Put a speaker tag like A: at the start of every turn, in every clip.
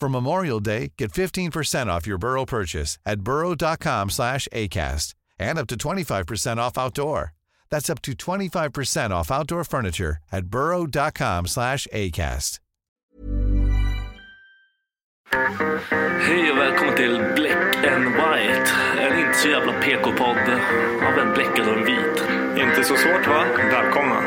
A: For Memorial Day, get 15% off your Burrow purchase at burrow.com slash ACAST and up to 25% off outdoor. That's up to 25% off outdoor furniture at burrow.com slash ACAST.
B: Hej och välkommen till Black and White. En inte så jävla PK-podd av en bläckad och en vit.
C: Inte så svårt va? Välkomna.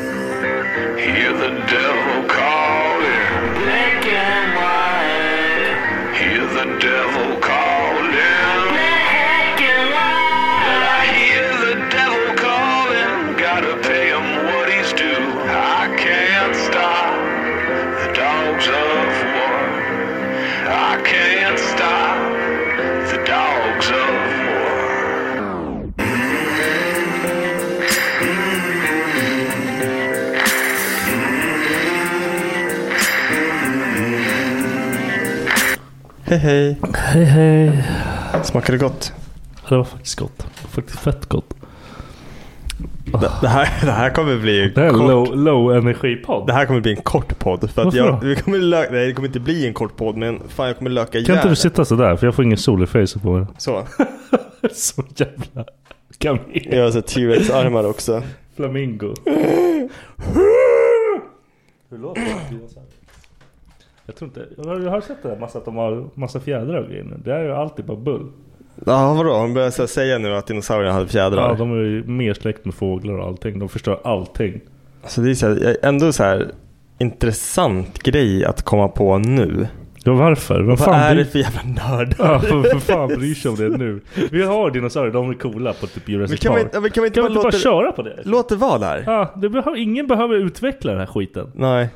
D: Hear the devil calling. Black and white. Hear the devil calling. Black and white. I hear the devil calling. Gotta pay him what he's due. I can't stop the dogs of war. I can't stop the dogs of war.
E: Hej hej.
F: Hej hej.
E: Smakar det gott?
F: Ja, Det var faktiskt gott. Det var Faktiskt fett gott.
E: Det, det, här, det här kommer bli
F: Ah. Det här är en
E: kort.
F: low, low energipodd.
E: Det här kommer bli en kort podd. För att
F: Varför
E: jag,
F: då?
E: vi kommer lö- Nej, det kommer inte bli en kort podd men fan jag kommer löka
F: kan inte du
E: ihjäl.
F: sitta sådär? För jag får ingen sol i face på mig.
E: Så.
F: Så jävla kamel.
E: Jag har så T-Rex-armar också.
F: Flamingo. Hur låter det? Jag tror inte... Jag har, jag har sett det där massa att de har massa fjädrar och grejer nu. Det här är ju alltid bara bull.
E: Ja vadå? Hon börjar så här säga nu att dinosaurierna hade fjädrar.
F: Ja, de är ju mer släkt med fåglar och allting. De förstör allting.
E: Så det är så här, ändå så här intressant grej att komma på nu.
F: Ja, varför? Vem
E: Vad
F: fan
E: är
F: bryr
E: det för jävla
F: Ja,
E: nördar?
F: för, för fan bryr sig om det nu? Vi har dinosaurier, de är coola på typ
E: Men
F: Jurassic
E: kan, vi,
F: Park.
E: ja, men kan vi inte
F: Kan vi
E: bara
F: inte
E: låta,
F: bara köra på det?
E: låt det vara där?
F: Ja, det behöver, ingen behöver utveckla den här skiten.
E: Nej.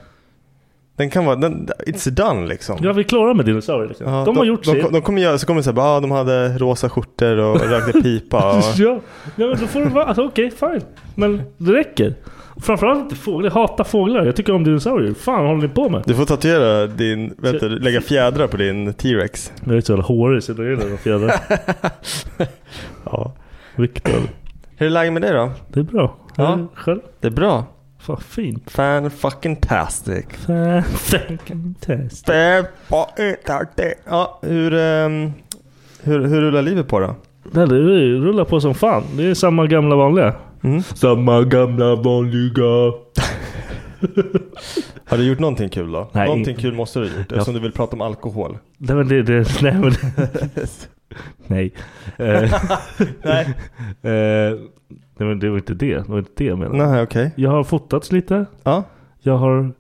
E: Den kan vara, den, it's done liksom.
F: Ja, vi är klara med dinosaurier liksom.
E: Ja,
F: de, har gjort
E: de,
F: sitt.
E: De, de kommer göra, så kommer det såhär, ah, de hade rosa skjortor och rökte pipa. Och,
F: ja, ja, men då får det vara, alltså, okej, fine. Men det räcker. Framförallt inte fåglar, jag hatar fåglar. Jag tycker om dinosaurier. fan håller ni på med?
E: du får tatuera din, vänta, lägga fjädrar på din T-Rex.
F: Jag är så jävla hårig så jag gillar de fjädrar.
E: Ja.
F: Viktor.
E: Hur är läget med dig då?
F: Det är bra.
E: Ja.
F: Eh, Själv?
E: Det är bra.
F: Fan fint.
E: Fan fucking tastic.
F: Fan, Fantastiskt.
E: Fan fucking tastic. Ja, hur, ehm, hur, hur rullar livet på då?
F: Nej, det är- rullar på som fan. Det är samma gamla vanliga.
E: Mm.
F: Samma gamla vanliga.
E: Har du gjort någonting kul då?
F: Nej,
E: någonting
F: ing-
E: kul måste du ha gjort eftersom du vill prata om alkohol.
F: Nej men det, det nej men Nej. Eh,
E: Nej.
F: eh, nej men det var inte det. Det var inte det jag menade.
E: Nej, okej.
F: Jag har fotats lite.
E: Ja.
F: Jag har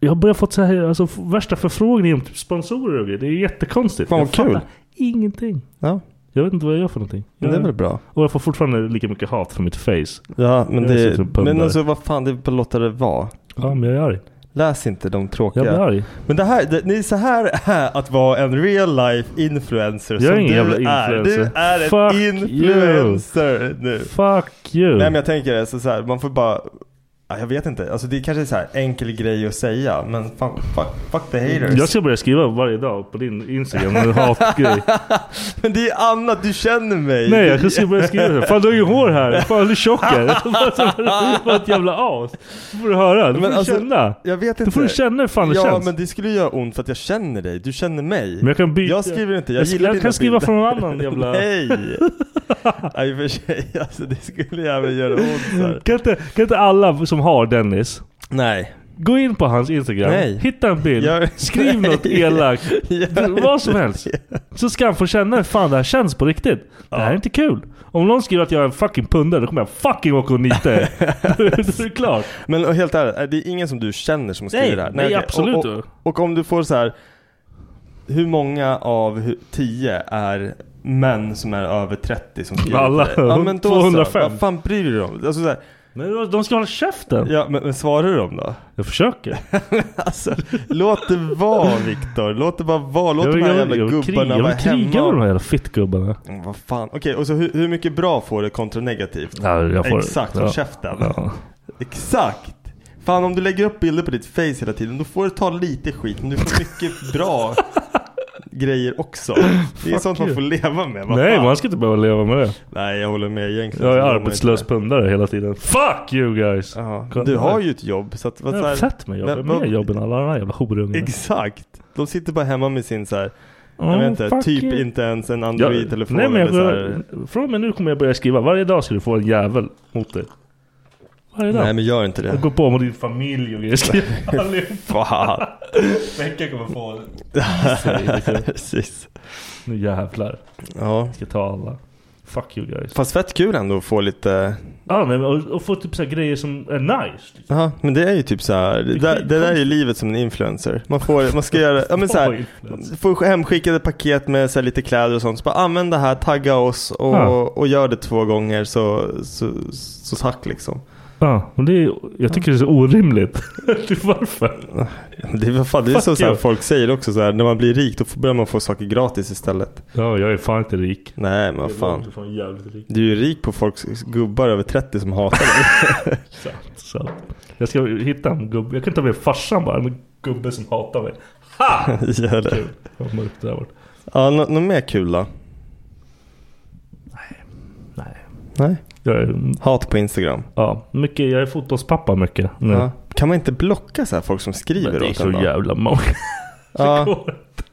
F: jag har börjat fått så här, alltså, f- värsta förfrågningar om typ sponsorer och grejer. Det är jättekonstigt.
E: Fan, vad
F: jag fattar
E: kul.
F: Ingenting.
E: Ja.
F: Jag Jag vet inte vad jag gör för någonting.
E: Men det är väl bra.
F: Och jag får fortfarande lika mycket hat från mitt face.
E: Ja, men,
F: Jag
E: det,
F: är så typ pundare.
E: men alltså vad fan, det är bara att låta det vara.
F: Ja, men jag är arg.
E: Läs inte de tråkiga.
F: Jag blir arg.
E: Men det här, det, ni, så här är att vara en real life influencer
F: Jag är
E: som
F: ingen
E: du
F: jävla
E: är. Du
F: influencer.
E: är
F: Fuck
E: en influencer nu.
F: Fuck you.
E: Nej men jag tänker det, så, så här, man får bara Ja, jag vet inte, alltså det kanske är så här enkel grej att säga men fan, fuck, fuck the haters.
F: jag ska börja skriva varje dag på din Instagram en hatgrej.
E: Men det är annat, du känner mig.
F: Nej, jag ska börja skriva det. Fan du har ju hår här. Fan du är tjock här. Vad ett jävla as. Då får du höra. Då får
E: Men
F: du
E: alltså,
F: känna.
E: Jag vet inte.
F: Då får du känna hur fan det
E: ja,
F: känns.
E: men det skulle göra ont för att jag känner dig. Du känner mig.
F: Men jag kan byta.
E: Jag skriver inte, jag,
F: Jag
E: gillar
F: skri- jag
E: dina
F: kan skriva
E: bilder.
F: från någon annan jävla-
E: Nej! Nej i och för sig, alltså det skulle jävla göra ont så här.
F: Kan inte, kan inte alla som har Dennis,
E: Nej.
F: gå in på hans Instagram,
E: Nej.
F: hitta en bild,
E: Gör-
F: skriv något
E: Nej.
F: elakt,
E: Gör
F: vad som helst. Så ska han få känna hur fan det här känns på riktigt. Det här är inte kul. Om någon skriver att jag är en fucking pundare, då kommer jag fucking åka och nita er. Då är det klart.
E: Men och helt ärligt, det är ingen som du känner som skriver
F: Nej,
E: det här.
F: nej,
E: okej.
F: absolut
E: Och, och,
F: inte.
E: och om du får så här. Hur många av hu- tio är män som är över 30 som skriver
F: Alla.
E: till dig? Ja, men då
F: 205.
E: Så, vad fan bryr du dig om? Alltså, så här,
F: Men de ska hålla käften.
E: ja, men, men svarar de då?
F: Jag försöker.
E: Alltså, låt det vara Viktor. Låt det bara vara. Låt
F: jag
E: de
F: vill,
E: här
F: jag
E: jävla
F: vill, jag vill, kriga,
E: gubbarna
F: jag
E: vara
F: vill kriga med de
E: hemma.
F: här jävla fittgubbarna.
E: Mm, Vad fan. Okej, och så hur, hur mycket bra får du kontra negativt?
F: Ja, jag får-
E: Exakt, håll
F: ja.
E: käften.
F: Ja.
E: Exakt! Fan om du lägger upp bilder på ditt face hela tiden då får du ta lite skit men du får mycket bra grejer också. Det är
F: Fuck
E: sånt man
F: you.
E: får leva med. vad
F: Nej,
E: fan.
F: man ska inte behöva leva med det.
E: Nej jag håller med egentligen.
F: Jag är
E: Så gör man
F: arbetslös
E: inte
F: pundare hela tiden. Fuck you guys!
E: det. Ja,
F: Kolla
E: du
F: här.
E: har ju ett jobb så att vad
F: Jag
E: så
F: har
E: här-
F: fett med jobb. Jag
E: Men-
F: har mer
E: men-
F: jobb än alla andra jävla horungar.
E: Exakt! De sitter bara hemma med sin så här, jag
F: Ja,
E: vet inte,
F: fuck
E: typ
F: you.
E: inte ens en
F: Ja,
E: Android-telefon
F: nej, men
E: eller
F: jag,
E: så här.
F: kommer- Från och med nu kommer jag börja skriva. Varje dag ska du få en jävel mot dig. Varje dag.
E: Nej men gör inte
F: Och
E: det.
F: gå på med din familj och grejer. Skriva allihop.
E: Fan!
F: Veckan kommer få...
E: Precis.
F: Nu jävlar.
E: Ja.
F: Jag ska ta alla. Fuck you guys.
E: Fast fett kul ändå att få lite
F: Ja, nej, men och, och få typ så här grejer som är nice. Liksom.
E: Ja, men det är ju typ så här. Det, där, det där är ju livet som en influencer. Man får, man ska göra, ja men så här. Får hemskickade paket med så här lite kläder och sånt. Så bara använd det här, tagga oss och,
F: Ja.
E: och gör det två gånger så, så, så tack liksom.
F: Ja, men det är, jag tycker det är så orimligt. Det- Varför?
E: Det är, vad fan, det är
F: Fuck
E: så, så här
F: you.
E: folk säger också så här. När man blir rik då får- börjar man få saker gratis istället.
F: Ja, jag är fan inte rik.
E: Nej men vad
F: Jag är
E: fan.
F: långt ifrån jävligt rik.
E: Du är ju rik på folks gubbar över 30 som hatar dig.
F: Sant, sant. Jag ska hitta en gubbe. Jag kan ta med farsan bara. En gubbe som hatar mig. Ha!
E: Gör det.
F: Kul. Vad mörkt det där vart.
E: Ja, nå- något mer kul då?
F: Nej.
E: Nej.
F: Jag är,
E: Hat på Instagram.
F: ja, mycket, jag är fotbollspappa mycket nu.
E: Ja. Kan man inte blocka så här folk som skriver
F: Men det är
E: åt
F: så
E: en då?
F: jävla många.
E: Ja.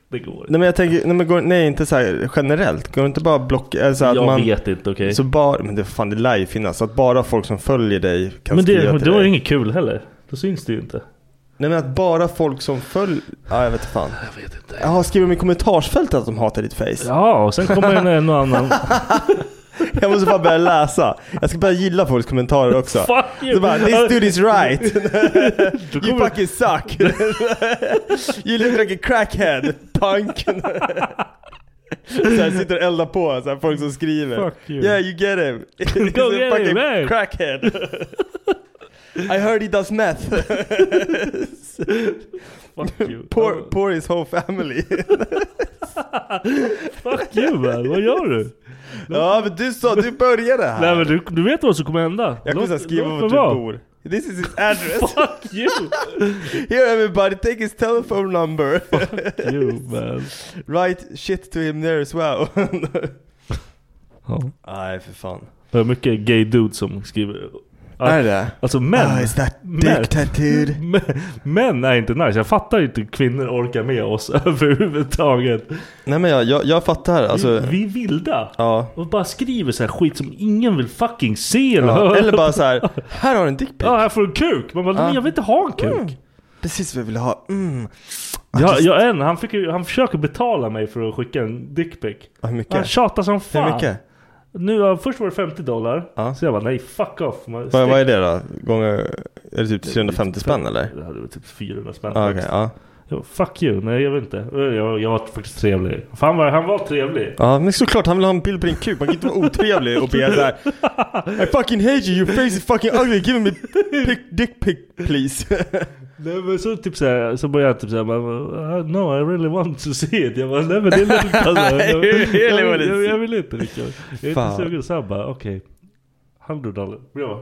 F: Det går inte. Det går inte.
E: Nej men jag tänker, nej, men går, nej inte så här generellt. Går det inte bara block, eller så att
F: Jag
E: man...
F: vet inte okej.
E: Så bara, men det, fan, det lär ju finnas. Så att bara folk som följer dig kan
F: Men det,
E: skriva
F: men
E: till
F: det var
E: dig.
F: ju inget kul heller. Då syns det ju inte.
E: Nej men att bara folk som följer... Ja jag vet inte fan.
F: Jag vet inte.
E: Jaha, skriver de i kommentarsfältet att de hatar ditt face?
F: Ja, och sen kommer en, en och annan.
E: Jag måste bara börja läsa. Jag ska börja gilla folks kommentarer också.
F: Fuck you!
E: Så bara, this dude is right.
F: Då
E: You
F: kommer,
E: fucking suck. you look like a crackhead. Punk. så här, sitter och eldar på så här, folk som skriver.
F: Fuck you.
E: Yeah, you get him. He's
F: Go
E: a
F: get
E: fucking
F: him, hey.
E: crackhead. I heard he does meth.
F: fuck you.
E: poor, poor his whole family.
F: Fuck you man, vad gör du?
E: ja, men du sa, du började här.
F: Nej men du, du vet vad som kommer hända.
E: Jag kommer så här
F: Låt-
E: skriva typ vart
F: låt
E: du
F: mig vara.
E: bor. This is his address.
F: Fuck you!
E: Here everybody, take his telephone number.
F: you man.
E: Write shit to him there as well.
F: Ja.
E: Nej, för fan.
F: Det är mycket gay dudes som skriver.
E: Är det?
F: Alltså män.
E: Ah, is that
F: Men-
E: dick tattooed?
F: Män- Män är inte nice. Jag fattar ju inte hur kvinnor orkar med oss överhuvudtaget.
E: Nej men jag, jag, jag fattar alltså.
F: Vi är vilda.
E: Ja.
F: Och bara skriver så här skit som ingen vill fucking se eller
E: ja.
F: höra.
E: Eller bara Ah. så här. här har du en dickpic.
F: Ja, här får du en kuk. Man bara,
E: Ja.
F: men jag vill inte ha en kuk.
E: Mm. Precis vad jag ville ha. Mm.
F: Ja, ja, en, han, fick, ju- han försöker betala mig för att skicka en dickpic.
E: Hur
F: Han
E: mycket?
F: tjatar som fan.
E: Hur mycket?
F: Nu, ja, först var det 50 dollar.
E: Ja.
F: Så jag bara, nej fuck off. Man,
E: Vad, vad är det då? Gånger, är det typ 350 spänn eller?
F: Det hade varit typ 400 spänn.
E: Ah, Okej,
F: faktiskt.
E: ja.
F: Jag bara, Fuck you, nej jag vet inte. Jag, jag var faktiskt trevlig. Fan vad han var trevlig.
E: Ja men såklart han vill ha en bild på din kuk. Man kan inte vara otrevlig och be såhär I fucking hate you, your face is fucking ugly, give me pic, dick pic please.
F: Nej men så typ såhär, så började jag typ såhär, bara, "Uh, no I really want to see it. Jag bara, nej men det är lugnt alltså.
E: Nej,
F: jag,
E: det är
F: jag, jag,
E: lugnt.
F: jag, jag vill inte Rickard. Jag är
E: Fan.
F: inte sugen. Så han bara, okej. 100 dollar. Jag bara,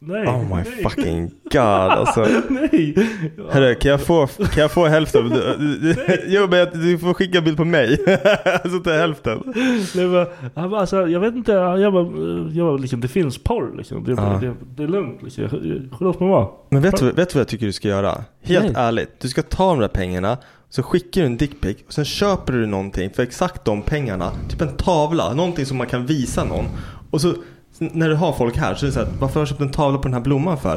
F: nej.
E: Oh my
F: nej,
E: fucking god alltså.
F: Nej. Jag bara,
E: Hörru, kan jag få, kan jag få hälften? av- Jo men jag- du får skicka bild på mig. Så tar jag hälften.
F: Nej, men, han bara, alltså, jag vet inte, jag bara, eh, jag bara liksom, det finns porr liksom. Det,
E: Ja.
F: det, det är lugnt liksom. Jag- jag- Låt mig vara.
E: Men vet du, vet du vad jag tycker du ska göra? Helt
F: Nej.
E: ärligt, du ska ta de där pengarna, så skickar du en dickpic och sen köper du någonting för exakt de pengarna. Typ en tavla, någonting som man kan visa någon. Och så sen när du har folk här så är det så här, varför har jag köpt en tavla på den här blomman för?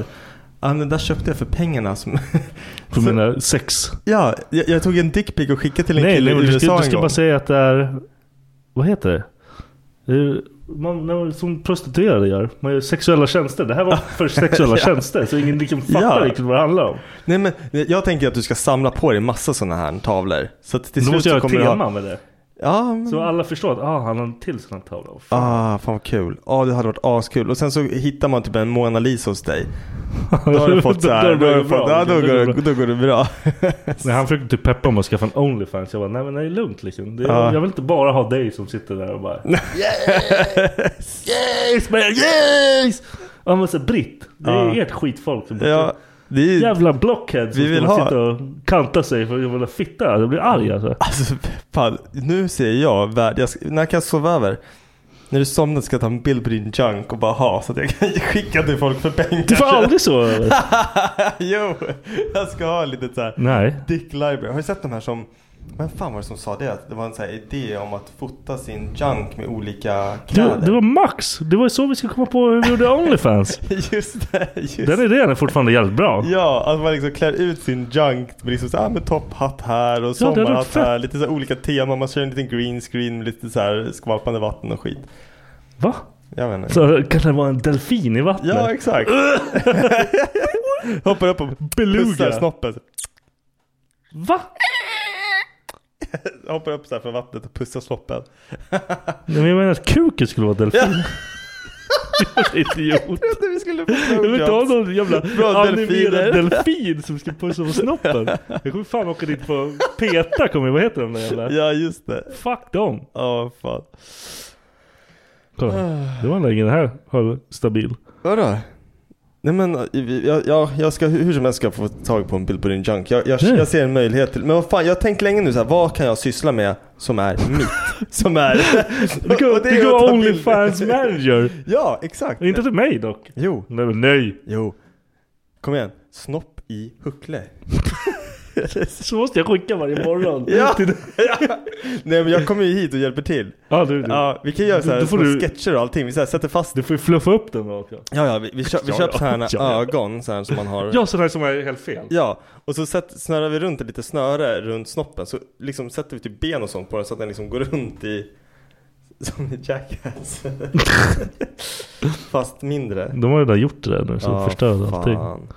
E: Ja men den där köpte jag för pengarna som...
F: För mina sex.
E: ja, jag, jag tog en dickpic och skickade till en
F: Nej,
E: kille
F: nej
E: i
F: men du ska,
E: USA
F: du
E: en
F: ska
E: gång.
F: bara säga att det är... Vad heter det? det? är- Man, när man, som prostituerade gör. Man gör sexuella tjänster. Det här var för sexuella tjänster. Så ingen liksom fattar
E: Ja.
F: riktigt vad det handlar om.
E: Nej men jag tänker att du ska samla på dig massa sådana här tavlor. Så att till
F: Då
E: slut
F: måste
E: så
F: jag ha ett
E: kommer du ha...
F: tema med det.
E: Ja, men...
F: Så alla förstår att ah, han har en till sån här tavla. Fan.
E: Ah, fan vad kul. Ja, det hade varit askul. Och sen så hittar man typ en Mona Lisa hos dig. Då har du fått så här, då, har du fått, ja, då, går, det- då går det bra.
F: Nej, han försökte typ peppa mig att skaffa en Onlyfans. Jag bara, nej men det är lugnt liksom. Det är,
E: Ja.
F: Jag vill inte bara ha dig som sitter där och bara... yes! Man, yes! Ja men så britt. Det är
E: Ja.
F: ert skitfolk som bara,
E: Ja, det är ju,
F: Jävla blockhead som
E: Vi vill
F: ska
E: ha-
F: sitta och kanta sig för att jävla fitta. Jag blir arg alltså.
E: alltså, fan, nu ser jag värld. Jag, ska- när kan jag sova över? När du somnar ska jag ta en bild på din junk och bara ha så att jag kan skicka till folk för pengar.
F: Du får aldrig så eller?
E: jo, jag ska ha lite så här.
F: Nej.
E: Dick Library. Har du sett de här som vem fan var det som sa det? Att det var en sån här idé om att fota sin junk med olika
F: Du,
E: kläder.
F: det var Max. Det var ju så vi skulle komma på hur vi gjorde Onlyfans.
E: Just det, just det.
F: Den idén är fortfarande jävligt bra.
E: Ja, att man liksom klär ut sin junk med liksom så här, med topphatt här och
F: det hade varit
E: sommarhatt
F: fett.
E: här. Lite så här olika teman. Man kör en liten green screen med lite så här skvalpande vatten och skit.
F: Va?
E: Jag vet inte.
F: Så kan det vara en delfin i vattnet?
E: Ja, exakt. Hoppar upp och pussar
F: Beluga.
E: snoppen.
F: Va?
E: Hoppar upp så här från vattnet och pussar snoppen.
F: Nej, men jag menar att kuken skulle vara delfin. Jävla Idiot.
E: Jag trodde vi skulle få
F: Jag vill inte ha
E: blowjobs.
F: någon jävla
E: Bra delfiner.
F: animerad delfin som ska pussa på snoppen. Jag kommer fan åka dit på PETA kommer jag- vad heter de där jävla?
E: Ja, just det.
F: Fuck dem.
E: Ja, fan.
F: Kolla. Det var länge den här höll stabil.
E: Vadå? Nej men eh, vi- jag, jag, jag ska hur hur som helst ska jag få tag på en bild på din junk. Jag, jag,
F: Mm.
E: jag ser en möjlighet till, men vad fan jag har tänkt länge nu så här, vad kan jag syssla med som är mitt? som är...
F: Du kan,
E: och det är
F: du kan
E: att
F: vara
E: ta bilder.
F: Onlyfans manager.
E: Ja, exakt.
F: Inte till mig dock.
E: Jo,
F: Nej men nej.
E: jo. Kom igen. Snopp i huckle.
F: Så måste jag skicka varje morgon.
E: Ja.
F: Till dig.
E: Nej men jag kommer ju hit och hjälper till.
F: ja du, du.
E: Ja, vi kan göra så här
F: Då får
E: små
F: du-
E: sketcher och allting. Vi så här, sätter fast...
F: du får ju fluffa upp den då också.
E: Ja, ja, vi, vi, köp, vi
F: Ja,
E: köper
F: ja.
E: sådana
F: Ja, ja.
E: här ögon så här, som man har.
F: Ja sådana här som är helt fel.
E: Ja, och så sätt, snörar vi runt ett litet snöre runt snoppen så liksom sätter vi typ ben och sånt på den så att den liksom går runt i som i Jackass. Fast mindre.
F: De har ju redan gjort det där nu så
E: Ja,
F: förstörde
E: fan.
F: allting.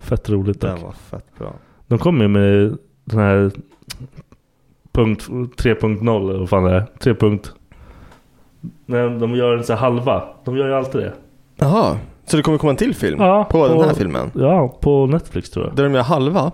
F: Fett roligt
E: Den
F: dock.
E: var fett bra.
F: De kom ju med den här punkt 3.0 eller vad fan det är. 3. punkt- När de gör en sån här halva. De gör ju alltid det.
E: Jaha, så det kommer komma en till film?
F: Ja,
E: på den här
F: och-
E: filmen?
F: Ja, på Netflix tror jag.
E: Där de gör halva?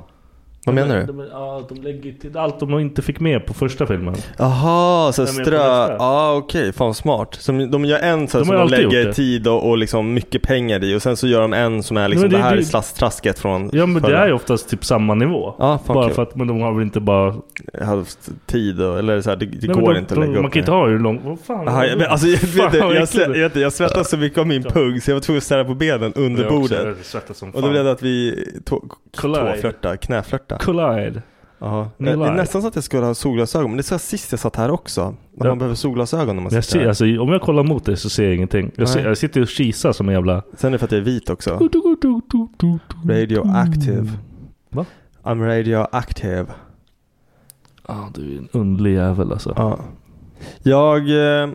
E: Vad menar du?
F: De, de, ja, de lägger ju till allt de inte fick med på första filmen.
E: Jaha, så
F: Nej, men
E: strö...
F: på
E: Ja
F: nästa.
E: ah, okej, fan vad smart. Som, de gör en så här
F: De
E: som
F: har
E: de
F: alltid gjort
E: lägger
F: det.
E: tid och, och liksom mycket pengar i och sen så gör de en som är liksom
F: men
E: det,
F: det-
E: här
F: det-
E: är slasstrasket från
F: Ja men det
E: förra.
F: är ju oftast typ samma nivå.
E: Ja, fan
F: bara
E: kul.
F: för att men de har väl inte bara... Det
E: haft tid och, eller så här, det, det
F: Nej, men
E: går
F: de,
E: inte att
F: de,
E: lägga upp
F: Man kan inte
E: det.
F: ha hur långt... Vad fan?
E: Aha, jag, men alltså, jag,
F: Fan,
E: vet, du,
F: vad
E: jag,
F: äckligt.
E: svett- jag, jag svettas så mycket av min pung så jag var tvungen att ställa på benen under
F: Jag också,
E: bordet.
F: jag svettas som
E: Och då blev
F: fan.
E: det att vi tå-
F: Collide.
E: tåflörta, knäflörta.
F: Collide.
E: Ja. Det
F: Ni
E: är
F: lie.
E: nästan så att jag skulle ha solglasögon, men det sa jag sist jag satt här också. Men
F: Ja.
E: man behöver solglasögon när man
F: Jag
E: sitter
F: ser,
E: här.
F: alltså, om jag kollar mot dig så ser jag ingenting. Jag, ser,
E: Nej.
F: jag sitter och kisar som en jävla...
E: Sen är det för att jag är vit också. Radioactive.
F: Va?
E: I'm radioactive.
F: Ah, du är en underlig jävel alltså.
E: Ja. Jag... eh,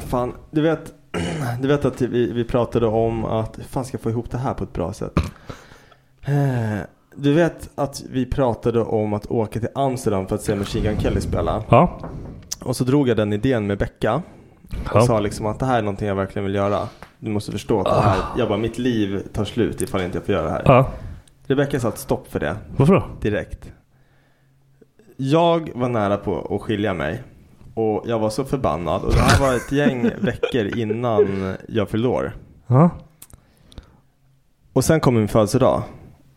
E: Fan, du vet, du vet att vi, vi pratade om att hur fan ska jag få ihop det här på ett bra sätt? Eh, Du vet att vi pratade om att åka till Amsterdam för att se Machine Gun Kelly spela.
F: Ja.
E: Och så drog jag den idén med Becka. Och
F: Ja.
E: sa liksom att det här är någonting jag verkligen vill göra. Du måste förstå att det här, jag bara mitt liv tar slut ifall inte jag får göra det här.
F: ja.
E: Rebecka satte stopp för det
F: Varför då?
E: direkt. Jag var nära på att skilja mig. Och jag var så förbannad. Och det här var ett gäng veckor innan jag fyllde år.
F: Ja.
E: Och sen kom min födelsedag.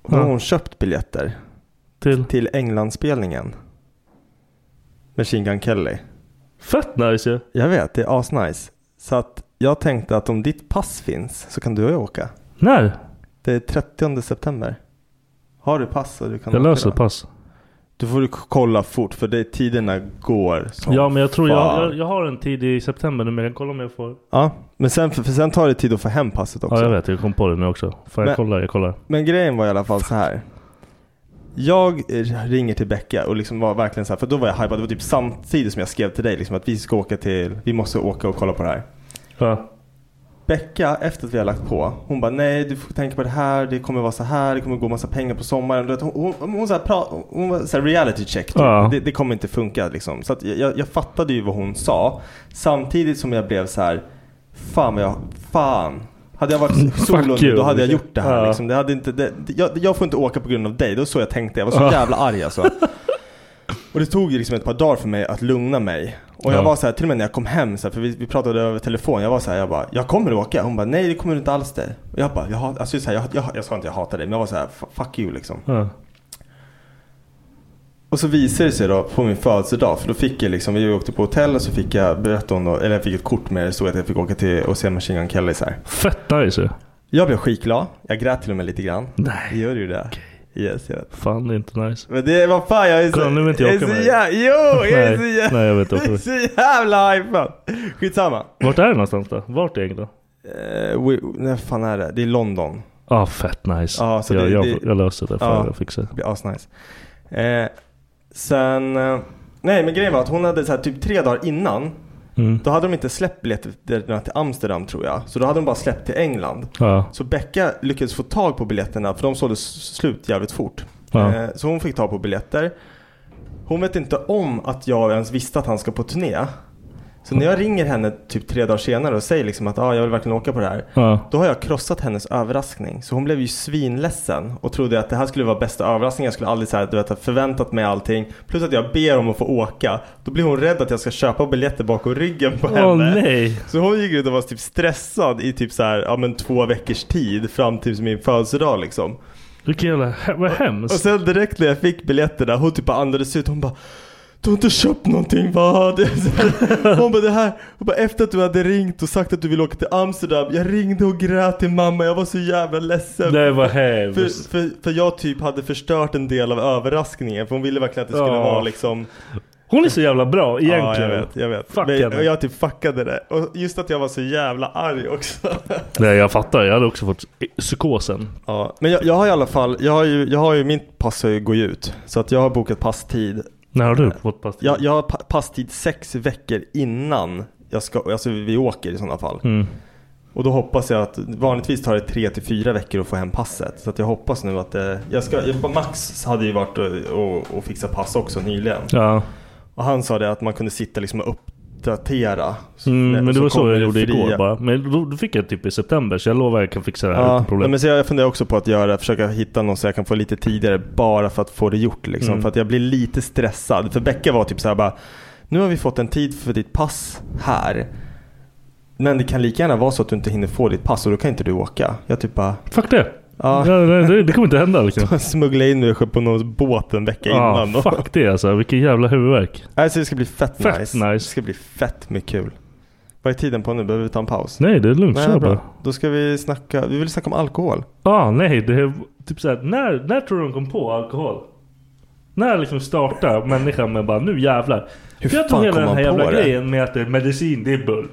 E: Och då
F: Ja.
E: har hon köpt biljetter
F: Till.
E: till Englandsspelningen. Machine Gun Kelly.
F: Fett nice ju.
E: Jag vet, det är asnice. Så att jag tänkte att om ditt pass finns så kan du och jag åka.
F: När?
E: Det är 30 september. Har du pass så du kan
F: Jag
E: åka
F: löser
E: då?
F: ett pass.
E: Du får du k- kolla fort för det, tiderna går som
F: Ja men jag tror jag,
E: fan.
F: jag, jag har en tid i september nu men jag kan kolla om jag får.
E: Ja, men sen, för, för sen tar det tid att få hem passet också.
F: Ja jag vet, jag kom på det nu också. Får jag
E: Men-
F: kolla? Jag kollar.
E: Men grejen var i alla fall så här. Jag eh, ringer till Becka och liksom var verkligen så här, för då var jag hypad. Det var typ samtidigt som jag skrev till dig liksom att vi ska åka till, vi måste åka och kolla på det här.
F: Ja.
E: Becka, efter att vi har lagt på, hon bara nej du får tänka på det här, det kommer vara så här, det kommer gå massa pengar på sommaren. Du vet, hon, hon, hon, så här, pra, hon var så här reality check, typ.
F: Ja.
E: det, det kommer inte funka liksom. Så att jag- jag, jag fattade ju vad hon sa, samtidigt som jag blev så här, fan vad jag, fan. Hade jag varit solo nu,
F: you.
E: då hade jag gjort det här.
F: Ja.
E: Liksom. Det hade inte, det, det- jag, jag får inte åka på grund av dig, det var så jag tänkte. Jag var så
F: Ja.
E: jävla arg alltså. Och det tog ju liksom ett par dagar för mig att lugna mig. Och jag
F: Ja.
E: var så här, till och med när jag kom hem, så här, för vi, vi pratade över telefon. Jag var så här, jag bara, jag kommer åka. Hon bara, nej det kommer du inte alls det. Och jag bara, jag, hat- alltså, så här, jag, jag, jag sa inte jag hatar dig, men jag var så här, "F- fuck you liksom.
F: Ja.
E: Och så visade det sig då på min födelsedag, för då fick jag liksom, vi åkte på hotell och så fick jag, berätta om då, eller jag fick ett kort med det, så att jag fick åka till och se Machine Gun Kelly så här.
F: Fett nice ju.
E: Jag blev skitglad, jag grät till och med lite grann.
F: Nej.
E: Gör du det? Yes, jag vet.
F: Fan det är inte nice.
E: Men det, vad fan jag är så,
F: Kolla, nu vill inte jag
E: jag är
F: åka
E: så
F: med dig.
E: jävla, jo, jag är så
F: Nej,
E: jävla,
F: nej, jag vet
E: jag är
F: inte.
E: så jävla hypad. Skitsamma.
F: Vart är det någonstans då? Vart är England?
E: Eh, we, nej, vad fan är det? Det är London.
F: Ja ah, fett nice.
E: Ja, så
F: jag,
E: det-
F: jag,
E: det-
F: jag löser det. Fan
E: Ja.
F: jag fixar det.
E: Det blir asnice. Eh, sen, eh, nej men grejen var att hon hade så här, typ tre dagar innan,
F: Mm.
E: då hade de inte släppt biljetterna till Amsterdam tror jag. Så då hade de bara släppt till England.
F: Ja.
E: Så Becka lyckades få tag på biljetterna för de sålde s- slut jävligt fort.
F: Ja.
E: Eh, Så hon fick tag på biljetter. Hon vet inte om att jag ens visste att han ska på turné. Så när jag ringer henne typ tre dagar senare och säger liksom att ah, jag vill verkligen åka på det här.
F: Ja.
E: Då har jag krossat hennes överraskning. Så hon blev ju svinledsen och trodde att det här skulle vara bästa överraskningen. Jag skulle aldrig så här, du vet, ha förväntat mig allting. Plus att jag ber om att få åka. Då blir hon rädd att jag ska köpa biljetter bakom ryggen på henne.
F: Åh nej.
E: Så hon gick runt och var typ stressad i typ så här, ja men två veckors tid fram till min födelsedag liksom.
F: Vilken jävla, he- vad
E: Och
F: hemskt.
E: sen direkt när jag fick biljetterna, hon typ bara andades ut, hon bara du har inte köpt någonting va? Det är så här- Hon bara det här, hon bara, efter att du hade ringt och sagt att du ville åka till Amsterdam Jag ringde och grät till mamma, jag var så jävla ledsen
F: Nej vad
E: för,
F: hemskt.
E: för, för jag typ hade förstört en del av överraskningen För hon ville verkligen att det skulle
F: Ja.
E: vara liksom
F: Hon är så jävla bra
E: Ja jag
F: egentligen.
E: vet, jag vet
F: Fuck
E: Men,
F: henne.
E: Och jag typ fuckade det Och just att jag var så jävla arg också
F: Nej jag fattar, jag hade också fått psykosen.
E: Ja, men jag, jag har i alla fall, jag har ju, jag har ju min pass har ju går ju ut. Så att jag har bokat passtid.
F: När har du fått pass?
E: Jag, jag har pa- passtid sex veckor innan jag ska, alltså vi åker i sådana fall.
F: Mm.
E: Och då hoppas jag att, vanligtvis tar det tre till fyra veckor att få hem passet. Så att jag hoppas nu att det, jag ska, jag, Max hade ju varit och, och, och fixat pass också nyligen.
F: Ja.
E: Och han sa det att man kunde sitta liksom och uppdatera. Så-
F: Mm, men det
E: så
F: var så
E: kommer
F: jag gjorde
E: fria.
F: igår bara. Men då, då fick jag typ i september så jag lovar jag kan fixa det här
E: Ja,
F: utan problem.
E: men så jag funderar också på att göra, försöka hitta någon så jag kan få lite tidigare bara för att få det gjort. Liksom.
F: Mm.
E: För att jag blir lite stressad. För Becka var typ så här bara, nu har vi fått en tid för ditt pass här. Men det kan lika gärna vara så att du inte hinner få ditt pass och då kan inte du åka. Jag typ bara
F: Fuck det.
E: Ja.
F: Ja, det, det, det kommer inte hända liksom.
E: smuggla in mig på någon båt en vecka
F: Ja,
E: innan. Och,
F: Ah, fuck det alltså. Vilken jävla huvudvärk.
E: alltså, det ska bli fett,
F: Fett
E: nice.
F: nice.
E: Det ska bli fett mycket kul. Vad är tiden på nu? Behöver vi ta en paus?
F: Nej, det är lugnt. Kör
E: Nej,
F: bara.
E: bra. Då ska vi snacka, vi vill snacka om alkohol.
F: Ah, nej, det är typ såhär, när, när tror du de kom på alkohol? När liksom startar människan med bara nu jävlar.
E: Hur
F: För
E: fan
F: jag tror hela
E: kom
F: den här
E: man på
F: jävla
E: det?
F: grejen med att det är medicin, det är bull.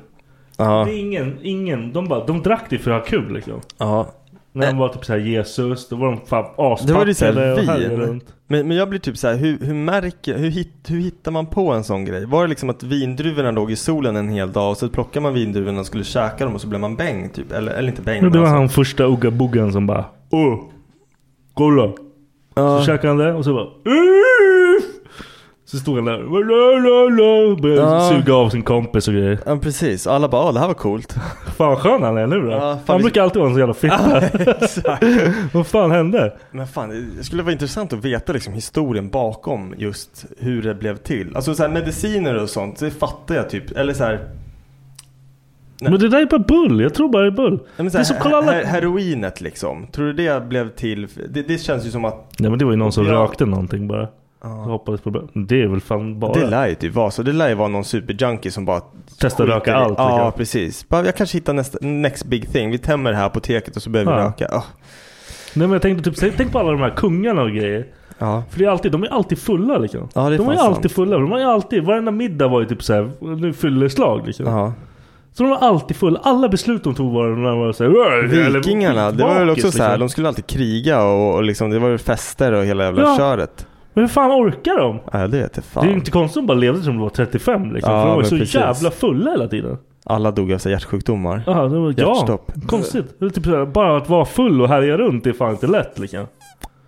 E: Ja.
F: Det är ingen, ingen, de bara, de drack det för att ha kul liksom.
E: Ja.
F: När de var typ såhär Jesus, då var de fan aspackade
E: Det var ju
F: och
E: såhär
F: härjade
E: vin.
F: runt.
E: Men, men jag blir typ så här, hur, hur, märker, hur, hit, hur hittar man på en sån grej? Var det liksom att vindruvorna låg i solen en hel dag och så plockar man vindruvorna och skulle käka dem och så blev man bäng typ? Eller, eller inte bäng
F: Men det
E: men
F: var
E: alltså.
F: han första Ugga Buggan som bara Åh, kolla! Så käkade han det och så bara Så stod han där och började
E: Ja.
F: suga av sin kompis och grejer.
E: Ja precis, alla bara "Åh, det här var coolt.
F: Fan vad skön han är nu då.
E: Ja, fan,
F: han
E: vi-
F: brukar alltid vara en så jävla fitta.
E: Exakt.
F: vad fan hände?
E: Men fan, det skulle vara intressant att veta liksom historien bakom just hur det blev till. Alltså så här, mediciner och sånt, det fattar jag typ. Eller så här, Nej.
F: Men det där är bara bull. Jag tror bara det är bull.
E: Ja, men
F: Det är som kolla alla...
E: he- heroinet liksom. Tror du det blev till? Det, det känns ju som att
F: Nej men det var ju någon som
E: Ja.
F: rökte någonting bara. Och hoppades på det. Det är väl fan bara.
E: det lär ju typ vara så. Det lär ju vara någon superjunkie som bara
F: Testa
E: skiter
F: röka
E: i-
F: allt,
E: Ja,
F: liksom.
E: precis. Bara, jag kanske hittar nästa, next big thing. Vi tämmer det här apoteket och så börjar vi
F: Ja.
E: röka. Ah.
F: Nej men jag tänkte typ, tänk på alla de här kungarna och grejer.
E: Ja.
F: För det är alltid, de är alltid fulla liksom.
E: Ja, det är
F: de är
E: fan
F: ju alltid
E: sant.
F: fulla. De har ju alltid, varenda middag var ju typ såhär, nu fyller slag liksom.
E: Ja.
F: Så de var alltid fulla. Alla beslut de tog var, de var såhär...
E: Vikingarna, det var väl också så här,
F: liksom.
E: de skulle alltid kriga och, och liksom, det var ju fester och hela jävla
F: Ja.
E: köret.
F: Men hur fan orkar de?
E: Ja, det vet jag
F: Det är
E: fan.
F: ju inte konstigt att de bara levde som de var 35 liksom.
E: Ja,
F: för de var ju
E: men
F: så
E: precis.
F: jävla fulla hela tiden.
E: Alla dog av så här hjärtsjukdomar.
F: Ja, det var, ja
E: Hjärtstopp.
F: konstigt. Det är typ såhär, bara att vara full och härja runt det är fan inte lätt liksom.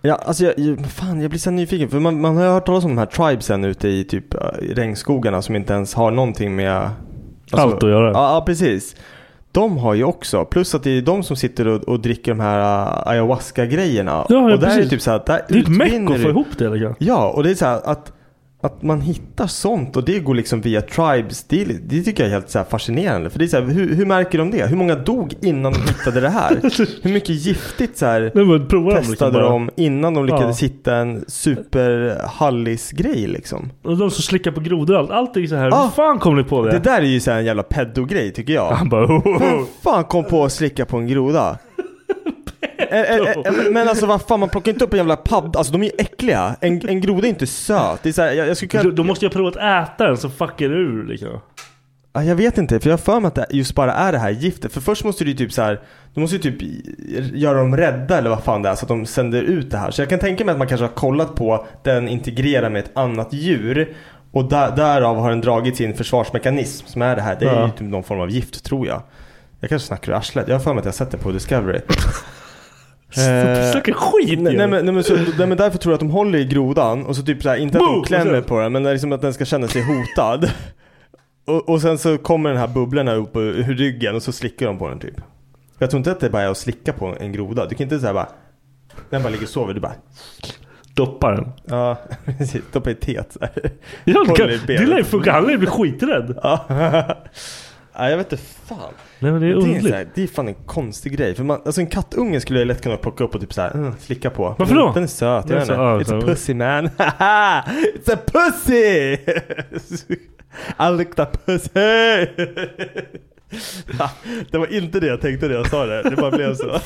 E: Ja, alltså jag, jag, fan, jag blir så nyfiken. För man, man har ju hört talas om de här tribesen ute i typ äh, i regnskogarna som inte ens har någonting med... alltså-
F: Allt att göra.
E: Ja, ja, precis. De har ju också, plus att det är de som sitter och, och dricker de här äh, ayahuasca-grejerna.
F: Ja, ja,
E: och där är
F: precis.
E: det typ så här, där
F: Det är ju ett meck
E: utvinner
F: att
E: du-
F: få ihop det liksom.
E: Ja, och det är så här att, att man hittar sånt och det går liksom via tribes. Det, är- det tycker jag är helt så här fascinerande. För det är så här, hur, hur märker de det? Hur många dog innan de hittade det här? Hur mycket giftigt så här
F: Nej men prova dem liksom
E: testade
F: bara.
E: de innan de lyckades
F: Ja.
E: hitta en superhallis-grej liksom.
F: Och de som slickar på grodor och allt. Allt är så här.
E: Ah.
F: Hur fan kom ni på det?
E: Det där är ju så här en jävla pedo-grej tycker jag.
F: Han bara oh,
E: Vem fan kom på att slicka på en groda? Eh, eh, eh, Men alltså vad fan man plockar inte upp en jävla padd, alltså de är ju äckliga. En, en groda är inte söt. Det är så här, jag, jag skulle kunna...
F: Då, då måste jag prova att äta den så fuckar det ur liksom.
E: Ja, jag vet inte, för jag har för mig att det just bara är det här giftet. För först måste du ju typ så här, du måste ju typ göra dem rädda eller vad fan det är så att de sänder ut det här. Så jag kan tänka mig att man kanske har kollat på den integrerar med ett annat djur. Och där, därav har den dragit sin försvarsmekanism som är det här. Det är
F: Ja.
E: ju typ någon form av gift tror jag. Jag kanske snackar ur arslet. Jag har för mig att jag har sett det på Discovery. Eh,
F: Snacka skit
E: Nej,
F: ju.
E: nej, men, nej, men, så, nej men därför tror jag att de håller i grodan och så typ såhär, inte att
F: Boom!
E: de
F: Och
E: klämmer
F: sen-
E: på den men det är liksom att den ska känna sig hotad. Och, och sen så kommer den här bubblorna upp ur ryggen och så slickar de på den typ. Jag tror inte att det bara är att slicka på en groda. Du kan inte såhär bara, den bara ligger och sover. Du bara,
F: Doppa den.
E: ja precis, stoppa i teet såhär.
F: Ja, det, kan,
E: Håller i
F: det
E: benet.
F: lär ju funka. Han lär ju bli skiträdd.
E: Ja. Nej jag vet inte fan.
F: Nej men det är
E: Det är, så
F: underligt.
E: här, det är fan en konstig grej. För man, alltså en kattunge skulle jag lätt kunna plocka upp och typ så här, mm, slicka på.
F: Varför då?
E: Den är söt.
F: Den
E: Jag
F: är
E: vet inte.
F: så-
E: It's
F: ja,
E: a
F: så-
E: pussy man. It's a pussy! I looked a pussy! Ja, det var inte det jag tänkte när jag sa det. Det bara blev så.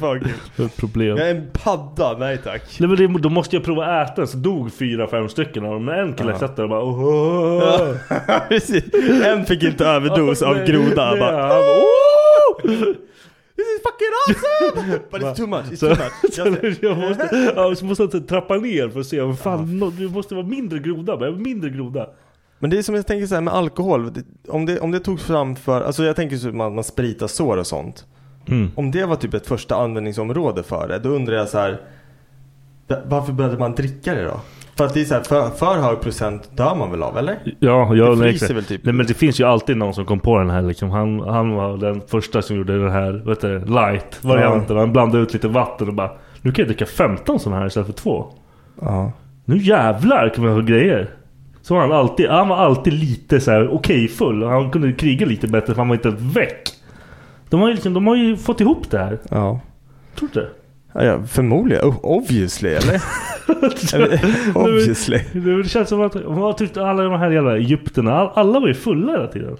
E: fan kul.
F: Det är ett problem.
E: Jag är en padda. Nej tack.
F: Nej men det, då måste jag prova att äta den. Så dog fyra, fem stycken av dem. Men en kille satt där och bara oh, oh, oh.
E: Precis. En fick inte överdos av
F: Nej,
E: groda.
F: nej,
E: bara,
F: han bara,
E: "Oh! This is fucking awesome! But it's too much, it's too much. Jag ser-
F: Jag måste, ja, så måste jag trappa ner för att se. vad Fan, nå- du måste vara mindre groda. bara, Mindre groda.
E: Men det är som jag tänker så här med alkohol. Det- Om det, om det togs fram för, alltså jag tänker så att man, man spritar sår och sånt. Om det var typ ett första användningsområde för det, då undrar jag så här. va- Varför började man dricka det då? För att det är så här, för, för hög procent dör man väl av eller?
F: Ja,
E: Det
F: jag
E: fryser
F: nej, exakt.
E: väl typ.
F: Nej men det finns ju alltid någon som kom på den här liksom. Han, han var den första som gjorde den här, vet du, light varianten. Han blandade ut lite vatten och bara Nu kan jag dricka 15 sådana här istället för två.
E: Ja.
F: Nu jävlar kan man ha grejer. Så var han alltid, han var alltid lite så här okej full. Han kunde kriga lite bättre för han var inte väck. De har ju liksom, de har ju fått ihop det här.
E: Ja.
F: Tror du det?
E: ja förmodligen. Oh, obviously eller? obviously.
F: Det känns som att vad tyckte alla de här jävla egyptierna, all- alla var ju fulla hela tiden.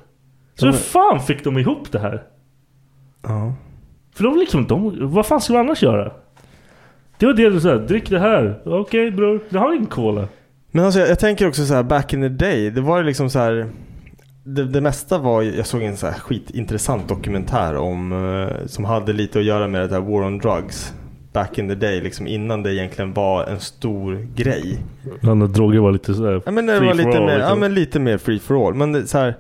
F: Så hur fan fick de ihop det här?
E: Ja.
F: För de liksom, de, vad fan skulle de annars göra? Det var det du sa, drick det här. Okej bror, det har ingen cola.
E: Men alltså jag, jag tänker också så här back in the day. Det var ju liksom så här. Det, det mesta var ju- jag såg en så här skitintressant dokumentär om eh, som hade lite att göra med det där War on Drugs. Back in the day, liksom innan det egentligen var en stor grej.
F: Ja, när droger var lite sådär
E: Ja men det
F: free
E: var
F: for
E: lite
F: all,
E: mer,
F: liksom.
E: ja men lite mer free for all. Men det, så här.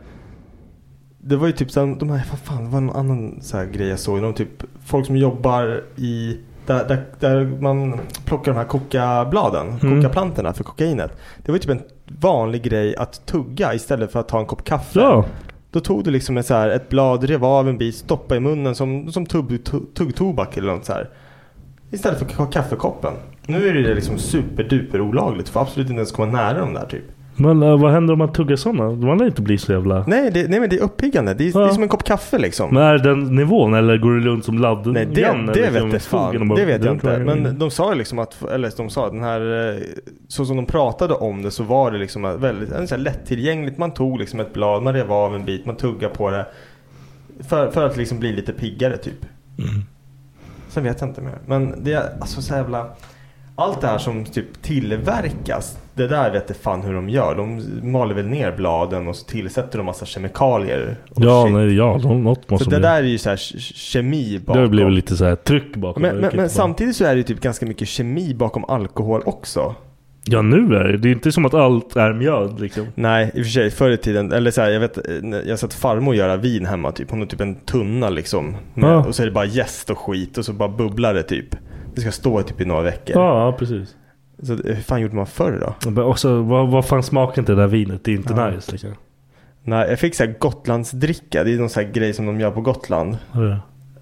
E: Det var ju typ så här, de här, vad fan, det var någon annan så här grej jag såg. De typ, folk som jobbar i Där, där, där man plockar de här kokabladen,
F: Mm.
E: kokaplantorna för kokainet. Det var ju typ en vanlig grej att tugga istället för att ta en kopp kaffe.
F: Ja.
E: Då tog du liksom ett, så här, ett blad, rev av en bit, stoppa i munnen som, som tugg, tugg, tuggtobak eller något så här. Istället för ka- kaffekoppen. Nu är det liksom superduper olagligt. Du får absolut inte ens komma nära de där typ.
F: Men eh, vad händer om man tuggar sådana? Man lär inte bli så jävla...
E: Nej, det, nej men det är uppiggande. Det är, det är
F: Ja.
E: som en kopp kaffe liksom.
F: Men är den nivån eller går det runt som ladd?
E: Nej det,
F: igen,
E: det
F: liksom,
E: vet jag
F: i skogen och
E: fan.
F: bara-
E: Det vet jag inte.
F: Mm.
E: Men de sa ju liksom att, eller de sa att den här, eh, så som de pratade om det så var det liksom att väldigt en så här lättillgängligt. Man tog liksom ett blad, man rev av en bit, man tuggade på det. För, för att liksom bli lite piggare typ.
F: Mm.
E: Sen vet jag inte mer. Men det är alltså så jävla, allt det här som typ tillverkas. Det där vet jag fan hur de gör. De maler väl ner bladen och så tillsätter de massa kemikalier. Och
F: Ja,
E: shit.
F: nej, ja, nå- något måste
E: Så
F: de
E: det
F: göra.
E: där är ju så här ke- kemi bakom.
F: Det blev lite så här tryck bakom.
E: Men,
F: det,
E: men,
F: kan
E: men
F: inte vara-
E: samtidigt så är det ju typ ganska mycket kemi bakom alkohol också.
F: Ja nu är det Det är inte som att allt är mjöd liksom.
E: Nej, i och för sig förr i tiden, eller så här, jag vet, eh, jag har sett farmor göra vin hemma typ. Hon har typ en tunna liksom. Med,
F: Ja.
E: Och så är det bara jäst och skit och så bara bubblar det typ. Det ska stå typ i några veckor.
F: Ja, ja, precis.
E: Så eh, hur fan gjorde man förr då?
F: Men också, vad, vad fan smakar inte det där vinet? Det är inte nice liksom.
E: Nej, jag fick så här Gotlandsdricka. Det är någon så här grej som de gör på Gotland.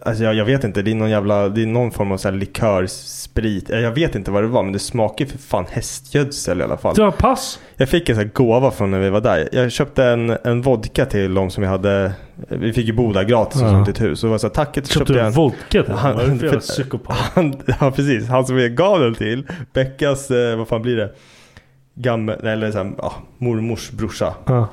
E: Alltså jag, jag vet inte, det är någon jävla, det är någon form av så här likörsprit. Eh, Jag vet inte vad det var men det smakar ju för fan hästgödsel i alla fall.
F: Ja, pass!
E: Jag fick en sån här gåva från när vi var där. Jag köpte en, en vodka till dem som vi hade. Vi fick ju bo där gratis och
F: Ja.
E: sånt i ett hus. Så det var så här, tacket så
F: Köpte
E: köpte
F: du
E: jag
F: en
E: en
F: vodka till?
E: Han-
F: Vad är det för jävla
E: för-
F: psykopat?
E: han, Ja precis, han som jag gav den till. Beckas, eh, vad fan blir det? Gammel, eller så här, ja, mormors brorsa.
F: Ja.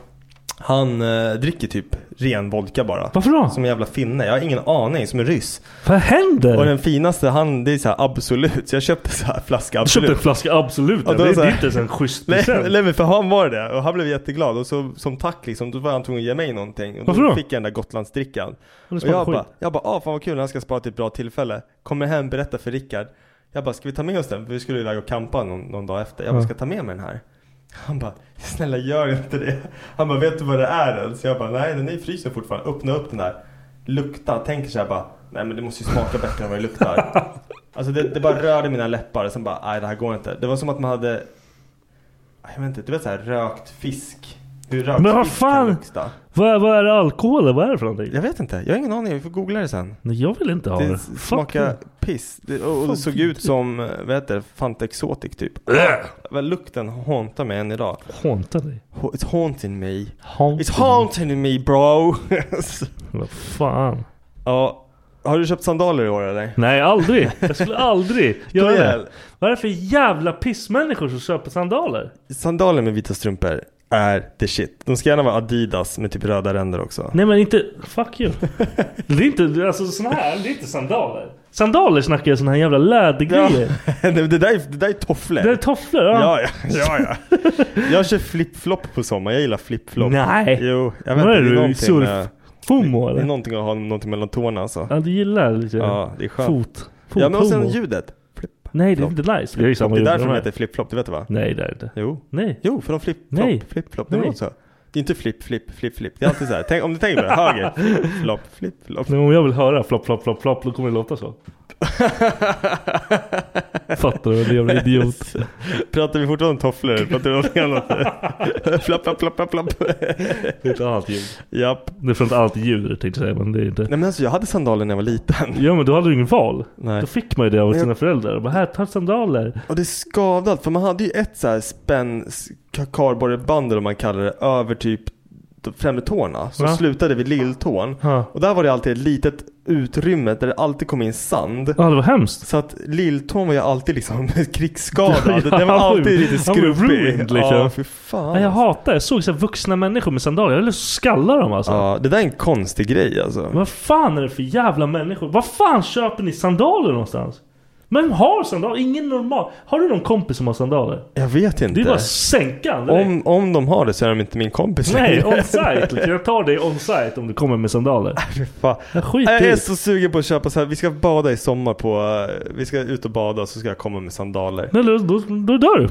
E: Han eh, dricker typ ren vodka bara.
F: Varför då?
E: Som en jävla finne, jag har ingen aning, som en ryss.
F: Vad händer?
E: Och den finaste, han, det är så här absolut. Så jag köpte så här flaska
F: Du köpte en
E: absolut.
F: flaska Absolut.
E: Ja,
F: Ja,
E: då
F: det, det
E: så här-
F: är inte ens en schysst
E: Nej,
F: present.
E: nej men för han var det och han blev jätteglad och så som tack liksom då var han tvungen att ge mig någonting och
F: Varför
E: då
F: då?
E: fick jag den där Gotlandsdrickan.
F: Men
E: Och
F: det smakar
E: jag
F: skit.
E: bara, jag bara, ah fan vad kul han ska spara till ett bra tillfälle. Kommer hem, berätta för Rickard. Jag bara, ska vi ta med oss den? För vi skulle iväg och campa någon, någon dag efter. Jag bara,
F: Ja.
E: ska jag ta med mig den här? Han bara, snälla gör inte det. Han bara, vet du vad det är än? Så jag bara, nej den är i frysen fortfarande. Öppna upp den där. Lukta, tänker så här bara, nej men det måste ju smaka bättre än vad det luktar. Alltså det, det bara rörde mina läppar, sen bara nej det här går inte. Det var som att man hade, jag vet inte, du vet såhär rökt fisk. Hur rökt
F: Men vad
E: fisk
F: fan?
E: kan lukta.
F: Vad, är- vad är det alkohol eller vad är det för någonting?
E: Jag vet inte, jag har ingen aning, vi får googla det sen.
F: Nej, jag vill inte ha
E: Det
F: det. Fuck
E: smakade
F: you. typ.
E: piss. Det, och, och det
F: Fan,
E: såg ut
F: vidrigt.
E: som, eh, vad heter det, Fanta Exotic typ. Äh! Lukten hauntar mig än idag.
F: Haunta dig.
E: Ha- It's haunting me.
F: Haunta
E: It's haunting me bro.
F: Vad fan.
E: ja, har du köpt sandaler i år eller?
F: Nej, aldrig. Jag skulle aldrig göra
E: igen.
F: det. Vad är det för jävla pissmänniskor som köper sandaler?
E: Sandaler med vita strumpor är the shit. De ska gärna vara Adidas med typ röda ränder också.
F: Nej men inte, fuck you. Det är inte, det är alltså sån här, det är inte sandaler. Sandaler snackar jag såna här jävla lädergrejer.
E: Nej, men det, där är, det där är tofflor.
F: Det är tofflor. Ja.
E: ja, ja, ja, ja. Jag kör flip-flop på sommaren. Jag gillar flip-flop.
F: Nej.
E: Jo, jag vet inte.
F: Vad är
E: Det är,
F: du?
E: någonting med,
F: Surf-fomo
E: det är
F: eller?
E: någonting att ha någonting mellan tårna alltså.
F: Ja du gillar lite
E: Ja, det är skönt.
F: fot. fot
E: Ja, men och sen
F: homo.
E: ljudet. Flip.
F: Nej det är inte nice. Vi har ju samma
E: Det är
F: ljud.
E: därför de
F: De
E: heter flip-flop, det vet du va?
F: Nej det är det inte.
E: Jo.
F: Nej.
E: Jo, för de
F: Nej.
E: flip-flop, flip-flop. Det
F: Nej.
E: låter så. Det är inte flip, flip, flip, flip. Det är alltid så här. Tänk, om du tänker på det, höger. Flip-flop, flip-flop.
F: Men om jag vill höra flopp flopp flopp flopp då kommer det låta så. Fattar du? Det är jävla idiot.
E: Pratar vi fortfarande om tofflor? Pratar vi om någonting annat? Flopp, flopp, flopp, flopp, flopp.
F: Det är ett annat ljud.
E: Japp.
F: Det är från ett annat ljud tänkte jag säga men det är inte.
E: Nej men alltså jag hade sandaler när jag var liten.
F: Ja men då hade du ingen val.
E: Nej.
F: Då fick man ju det av
E: jag-
F: sina föräldrar. Bara, här, ta sandaler.
E: Och det är skadat, för man hade ju ett så här spänn k- kardborreband eller vad man kallar det över typ de främre tårna som
F: Ja.
E: slutade vid lilltån.
F: Ja.
E: Och där var det alltid ett litet utrymme där det alltid kom in sand.
F: Ja, det var hemskt.
E: Så att lilltån var ju alltid liksom krigsskadad.
F: Ja,
E: Den var
F: han var ju-
E: alltid lite
F: han var ju
E: skrubbig.
F: ruined, liksom.
E: Ja, för fan. alltså.
F: Nej, jag hatar det. Jag såg så här vuxna människor med sandaler. Jag ville skalla dem alltså.
E: ja, det där är en konstig grej alltså.
F: Vad fan är det för jävla människor? Vad fan köper ni sandaler någonstans? Men har sandaler? Ingen normal. Har du någon kompis som har sandaler?
E: Jag vet inte.
F: Det är bara sänkan direkt.
E: Om, om de har det så är de inte min kompis
F: Nej,
E: längre.
F: on site. Liksom. Jag tar dig on site om du kommer med sandaler.
E: Fy fan.
F: Jag skiter
E: Jag
F: i
E: är
F: det.
E: så sugen på att köpa så här. vi ska bada i sommar på, eh, vi ska ut och bada så ska jag komma med sandaler.
F: Nej, då, då, då dör du.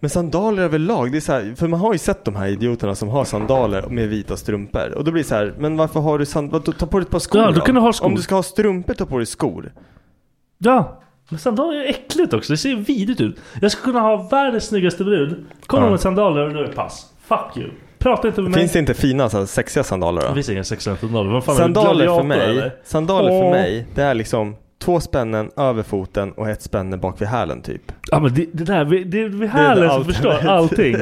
E: Men sandaler överlag, det är så här, för man har ju sett de här idioterna som har sandaler med vita strumpor. Och då blir det så här, men varför har du sandaler? Ta på dig ett par skor
F: Ja, då
E: då.
F: kan du ha skor.
E: Om du ska ha strumpor, ta på dig skor.
F: Ja. Men sandaler är äckligt också. Det ser vidrigt ut. Jag skulle kunna ha världens snyggaste brud. Kommer
E: Ja.
F: hon med sandaler och då är det pass. Fuck you. Prata inte med mig.
E: Finns det inte fina så här, sexiga sandaler
F: Det
E: då?
F: finns inga sexuella sandaler. Vad fan är
E: Sandaler för
F: du, gladiator,
E: mig,
F: eller?
E: sandaler
F: Åh.
E: för mig, det är liksom två spännen över foten och ett spänne bak vid hälen typ.
F: Ja men det, det där, vi, det är vi härliga som
E: allt-
F: förstår allting.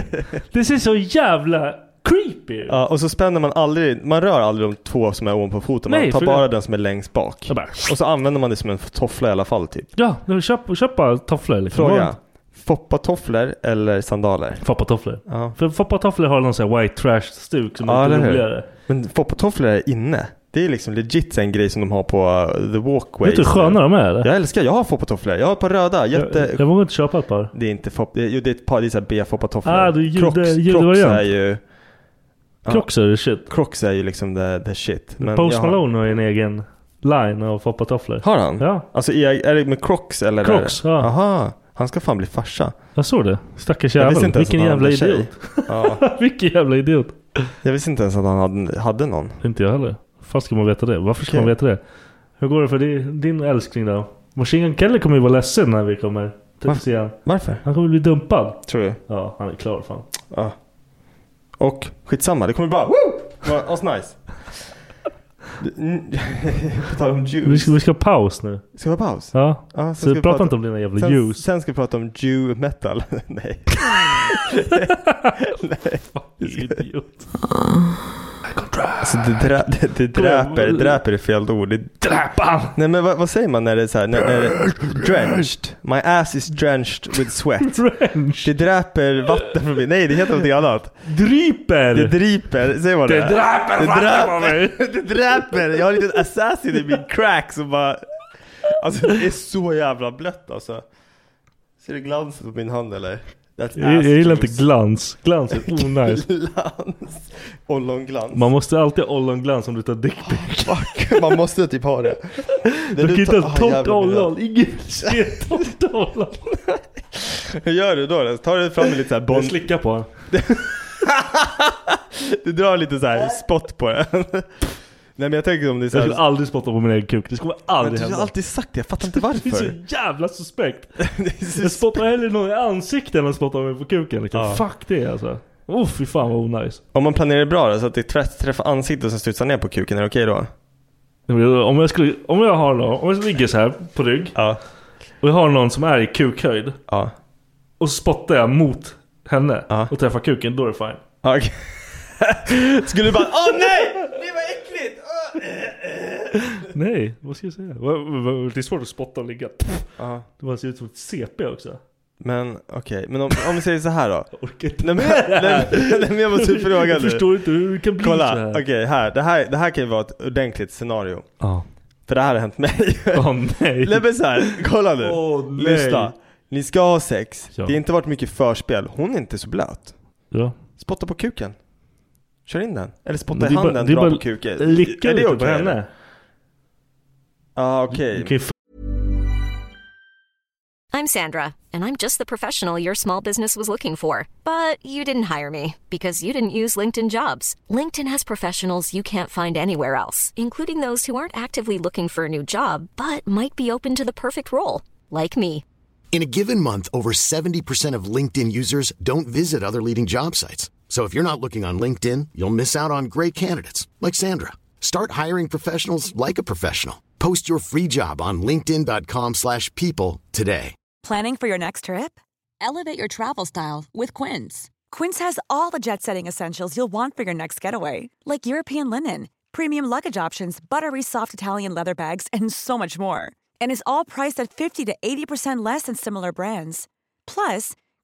F: Det ser så jävla creepy ut.
E: Ja, och så spänner man aldrig, man rör aldrig de två som är ovanpå foten. Man
F: Nej,
E: tar
F: för
E: bara
F: det-
E: den som är längst bak.
F: Jag bara,
E: Och så använder man det som en toffla i alla fall typ.
F: Ja, nu köp, köp bara tofflor. Liksom.
E: Fråga. Foppatofflor eller sandaler?
F: Foppatofflor.
E: Ja.
F: För foppatofflor har någon sån här white trash stuk som
E: Ja,
F: är
E: eller
F: lite
E: hur?
F: roligare.
E: Men foppatofflor är inne. Det är liksom legit en grej som de har på uh, the walkway.
F: Vet du hur sköna de är eller?
E: Jag älskar, jag har foppatofflor. Jag har ett par röda. Jätte...
F: jag, jag vågar inte köpa ett par.
E: Det är inte fopp... det är- Jo, det är ett par, det är så här B-foppatofflor.
F: Ah, du är jude-
E: Crocs, Crocs
F: judevariant.
E: är ju... Ja.
F: Crocs är shit.
E: Crocs är ju liksom the, the shit. Men
F: Post
E: jag har-
F: Malone har en egen line av foppatofflor.
E: Har han?
F: Ja,
E: Alltså är, är det med Crocs eller? är det-
F: Crocs, ja.
E: Aha, han ska fan bli farsa.
F: jag såg det. Stackars
E: Jag visste
F: jävel.
E: inte ens
F: Vilken
E: att han
F: jävla
E: hade tjej.
F: idiot.
E: Ja,
F: Vilken jävla idiot.
E: jag visste inte ens att han hade, hade någon.
F: Inte jag heller. Fan ska man veta det? Varför ska
E: Okej.
F: man veta det? Hur går det för din, din älskling då? Machine Gun Kelly kommer ju vara ledsen när vi kommer. Typ
E: Varför?
F: se han.
E: Varför?
F: han kommer bli dumpad.
E: Tror du?
F: Ja, han är klar fan.
E: Ja. Och skitsamma, det kommer bara woo! Bara, Asnice. Mm, På tal om
F: Vi
E: juice.
F: ska,
E: Ska
F: vi ska ha paus nu.
E: vi ha paus?
F: Ja.
E: Ja, sen
F: Så prata, inte om dina jävla
E: sen,
F: ljus.
E: sen ska vi prata om Jew metal. Nej. Nej.
F: Idiot.
E: Alltså det, drä, det, det dräper, dräper är fel ord. Det,
F: Dräpan!
E: nej men vad, vad säger man när det är så här, när, när det drenched? My ass is drenched with sweat.
F: Trench!
E: Det dräper vatten från mig. Nej det heter någonting annat.
F: Dryper!
E: Det driper, säger man det?
F: Det dräper
E: Det
F: vatten på mig!
E: dräper, det dräper! Jag har en liten assassin i min crack som bara... Alltså det är så jävla blött alltså. Ser du glansen på min hand eller? That's
F: Jag, jag gillar inte
E: ass
F: glans. Glans är onajs.
E: juice. Glans. Ollonglans.
F: Man måste alltid ha ollonglans om du tar dickpic.
E: Fuck, man måste typ ha det. det
F: Du kan inte ha
E: ah,
F: ett torrt
E: jävlar,
F: ollon. Ingen ser ett torrt ollon.
E: Hur gör du då? Tar du fram en lite såhär
F: Jag
E: Bond...
F: slickar på den.
E: Du drar lite såhär spott på den. Nej men jag tänker om det är
F: Jag skulle
E: såhär...
F: aldrig spotta på min egen kuk. Det skulle
E: Men
F: aldrig
E: Du
F: hända.
E: har alltid sagt det, jag fattar inte
F: Det är så
E: varför.
F: jävla suspekt.
E: Det är så
F: Jag spottar hellre någon i ansiktet än att spotta mig på kuken. Liksom. Fuck det alltså. Oh, fy fan vad onajs.
E: Om man planerar det bra då, så att det träff- träffar ansiktet och sen studsar ner på kuken, är det okej då?
F: Om jag, skulle, om jag har någon, om jag ligger så här på rygg
E: Ja.
F: och jag har någon som är i kukhöjd
E: Ja.
F: och så spottar jag mot henne
E: Ja.
F: och träffar kuken, då är det fine.
E: ja okej. Skulle du bara Åh nej! Det var äckligt! Åh, eh."
F: Nej, vad ska jag säga? Va- va- va- Det är svårt att spotta och ligga.
E: Ja.
F: Det ser ut som ett CP också.
E: Men okej, men om, om vi säger så här då.
F: Jag orkar inte.
E: Nej men, nej, nej, men jag måste fråga
F: Jag
E: nu.
F: förstår inte hur det kan bli så
E: Kolla,
F: här.
E: okej här. Det, här. det här kan ju vara ett ordentligt scenario.
F: Ja.
E: För det här har hänt mig.
F: Åh nej.
E: nej men så här, kolla nu.
F: Åh, nej.
E: Lyssna. Ni ska ha sex.
F: Ja.
E: Det har inte varit mycket förspel. Hon är inte så blöt.
F: Ja.
E: Spotta på kuken. Kör in den. Eller
F: Men det
E: spotta
F: är
E: i
F: bara-
E: handen,
F: det är
E: dra
F: bara
E: på kuken.
F: Licka
E: Är det
F: lite på
E: okej, eller?
F: henne.
E: Ja okej.
F: Du kan ju
G: I'm Sandra, and I'm just the professional your small business was looking for. But you didn't hire me because you didn't use LinkedIn jobs. LinkedIn has professionals you can't find anywhere else, including those who aren't actively looking for a new job but might be open to the perfect role, like me.
H: In a given month, over 70% of LinkedIn users don't visit other leading job sites. So if you're not looking on LinkedIn, you'll miss out on great candidates like Sandra. Start hiring professionals like a professional. Post your free job on linkedin.com/people slash people today.
I: Planning for your next trip? Elevate your travel style with Quince. Quince has all the jet setting essentials you'll want for your next getaway, like European linen, premium luggage options, buttery soft Italian leather bags, and so much more. And is all priced at 50 to 80% less than similar brands. Plus,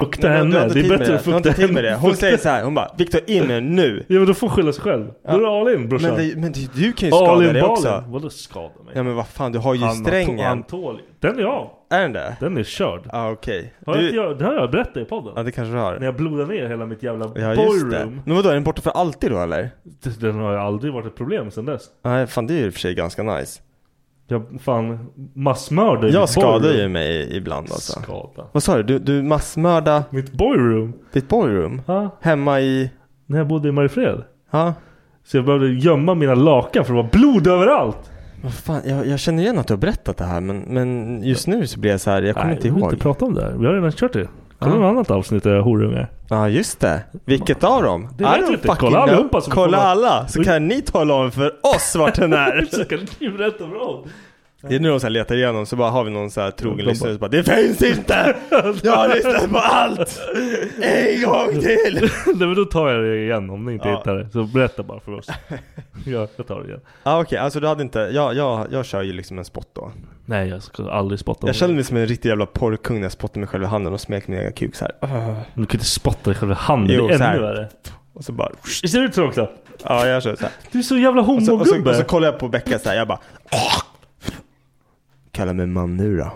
F: fukta
E: Men du har inte
F: henne. Det är
E: tid med
F: bättre att
E: Du har
F: fukta
E: inte tid med det.
F: henne.
E: Hon
F: Fukta-
E: säger så här, hon bara Viktor in nu, nu.
F: Ja men då får hon skylla sig själv. Då är det all in brorsan.
E: Men, det, men det, du kan ju skada dig också.
F: Vadå skada mig?
E: Ja men vad fan, du har ju
F: Han har to-
E: strängen.
F: han tål- Den är av.
E: Är den det?
F: Den är körd.
E: Ja ah, okej.
F: Har jag
E: Du-
F: inte jag, det har jag berättat i podden.
E: Ja det kanske du
F: När
E: har.
F: jag blodade ner hela mitt jävla
E: Ja just det.
F: boyroom.
E: Men vadå, är den borta för alltid då eller?
F: Den har ju aldrig varit ett problem sedan dess.
E: Nej fan det är ju i och för sig ganska nice.
F: Jag fan massmördar
E: Jag skadar ju
F: borgrum.
E: mig ibland alltså.
F: Skada.
E: Vad sa du? Du, du massmörda...
F: Mitt boyroom.
E: Ditt boyroom?
F: Ja.
E: Hemma i...
F: När jag bodde i Mariefred.
E: Ja.
F: Så jag behövde gömma mina lakan för det var blod överallt.
E: Vad fan, jag, jag känner igen att du har berättat det här men, men just nu så blir jag så här, jag kommer inte
F: Vi
E: ihåg.
F: vill inte prata om det här. Vi har redan kört det. Kolla
E: Ja.
F: något annat avsnitt där jag horungar.
E: Ja just det. Vilket av dem?
F: Det vet
E: I
F: vi
E: don't
F: inte.
E: fucking know.
F: Kolla allihopa så vi
E: Kolla
F: kommer-
E: alla. Så kan ni tala om för oss vart den är.
F: Så kan du berätta för oss.
E: det är nu de så här letar igenom så bara har vi någon så här trogen
F: De
E: lyssnare som bara Det finns inte! Jag har lyssnat på allt! En gång till!
F: Nej men då tar jag det igen om ni inte
E: Ja.
F: hittar det. Så berätta bara för oss. ja, jag tar det igen.
E: Ja okej, alltså du hade inte, jag, jag, jag kör ju liksom en spot då.
F: Nej jag ska aldrig spotta. om
E: Jag
F: det.
E: känner mig som en riktig jävla porrkung när jag spottar mig själv i handen och smeker min egen kuk så här.
F: Men Du kan inte spotta i själva handen.
E: Jo,
F: det
E: så
F: är
E: här.
F: ännu värre.
E: Och så bara
F: Visst är det så också?
E: Ja jag kör så här.
F: Du är så jävla
E: Och så, och, så,
F: homogubbe.
E: och så kollar jag på Becka så här, jag bara Kalla mig man nu då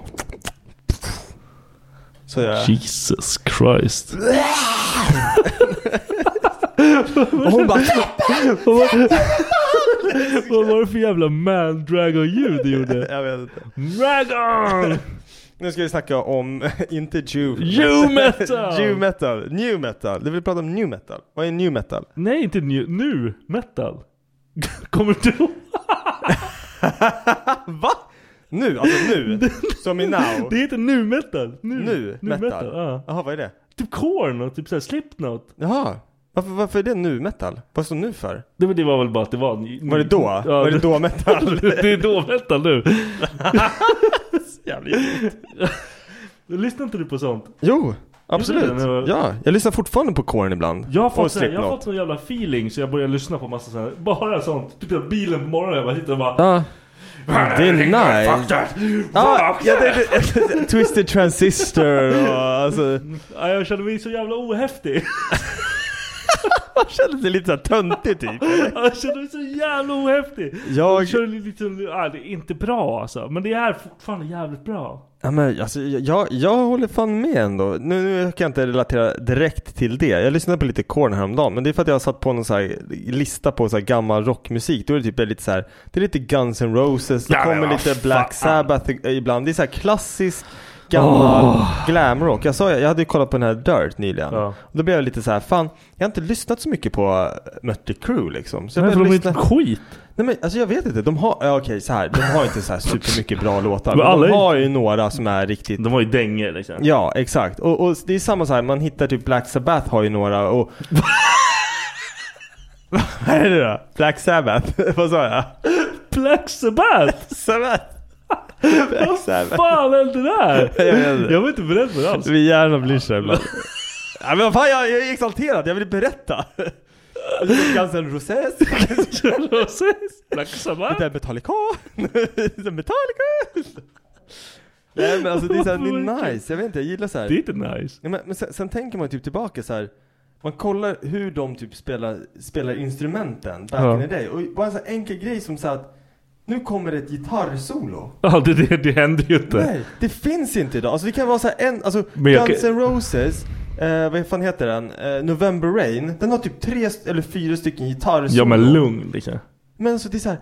E: Så gör jag
F: Jesus Christ.
E: Och hon bara
F: Vad var, vad var det för jävla man dragon ljud du gjorde?
E: Jag vet inte
F: Dragon!
E: Nu ska vi snacka om, inte Jew
F: Jew metal!
E: Jew metal, new metal Du vill prata om new metal Vad är new metal?
F: Nej inte nu, nu metal. Kommer du ihåg?
E: Va? Nu, alltså nu Som i now
F: Det heter nu metal. Nu,
E: Nu metal
F: ja.
E: Jaha vad är det?
F: Typ corn och typ såhär slipknot.
E: Jaha varför, varför är det nu metal? Vad står nu för?
F: Det, men det var väl bara att det var...
E: Var det då?
F: Ja,
E: var det då metal?
F: det är då metal nu.
E: Jävligt.
F: Lyssnar inte du på sånt?
E: Jo, absolut.
F: det, men vad-
E: Ja, jag lyssnar fortfarande på Korn ibland.
F: Jag har fått,
E: Och
F: så här, jag har
E: Slipknot.
F: fått sån jävla feeling så jag börjar lyssna på massa sån här, bara sånt. Typ jag bilen på morgonen jag bara sitter och bara
E: Ja. Det är nice. Ja, jag tänkte, Twisted Transistor och alltså.
F: "Ja, Jag känner mig så jävla ohäftig.
E: Jag kände mig lite såhär töntig typ.
F: Ja, Jag känner mig så jävla ohäftig.
E: Jag,
F: Jag kör liksom, ja, det är inte bra alltså. Men det är fortfarande jävligt bra.
E: ja, men, alltså, jag- jag, jag håller fan med ändå. Nu, nu kan jag inte relatera direkt till det. Jag lyssnade på lite Korn häromdagen. Men det är för att jag har satt på någon så här lista på så här gammal rockmusik. Då är det typ lite så här. Det är lite Guns N' Roses. Det
F: Ja, men
E: kommer
F: vad
E: lite
F: fan.
E: Black Sabbath i- ibland. Det är så här klassisk gammal glamrock. Jag sa jag hade ju kollat på den här Dirt nyligen.
F: Ja.
E: Och då blev jag lite så här, fan, jag har inte lyssnat så mycket på äh, Mötley Crüe liksom. Så jag
F: Men för
E: började
F: de är
E: lyssna...
F: inte skit.
E: Nej men alltså jag vet inte, de har, ja, okej så här, de har inte så här supermycket bra låtar.
F: Men
E: Men
F: alla
E: de
F: är-
E: har ju några som är riktigt
F: De har ju dängor liksom.
E: Ja, exakt. Och, och det är samma så här, man hittar typ Black Sabbath har ju några och... Vad är det då? Black Sabbath? Vad sa jag?
F: Black Sabbath!
E: Sabbath? Black Sabbath.
F: fan är det där?
E: Jag vet inte.
F: jag var inte beredd på det alls.
E: Min hjärna blir så ibland. ja, men vad fan, jag, jag är exalterad. Jag vill berätta. Guns N' Roses.
F: Roses, Black
E: Det
F: Sabbath.
E: är Metallica. Det är Metallica. Nej men alltså det är, så här, det är nice. Jag vet inte, jag gillar så här.
F: Det är inte nice.
E: Ja, men, men sen, sen tänker man ju typ tillbaka så här. Man kollar hur de typ spelar, spelar instrumenten back
F: Ja.
E: in the day. Och bara en sån här enkel grej som så här att nu kommer det ett gitarrsolo.
F: Ja, det, det, det händer ju inte.
E: Nej, det finns inte idag. Alltså det kan vara så här en, alltså
F: Men jag
E: Guns
F: kan-
E: N' Roses, eh, vad fan heter den? Eh, November Rain. Den har typ tre st- eller fyra stycken gitarrsolon.
F: Ja men lugn liksom.
E: Men alltså det är så här.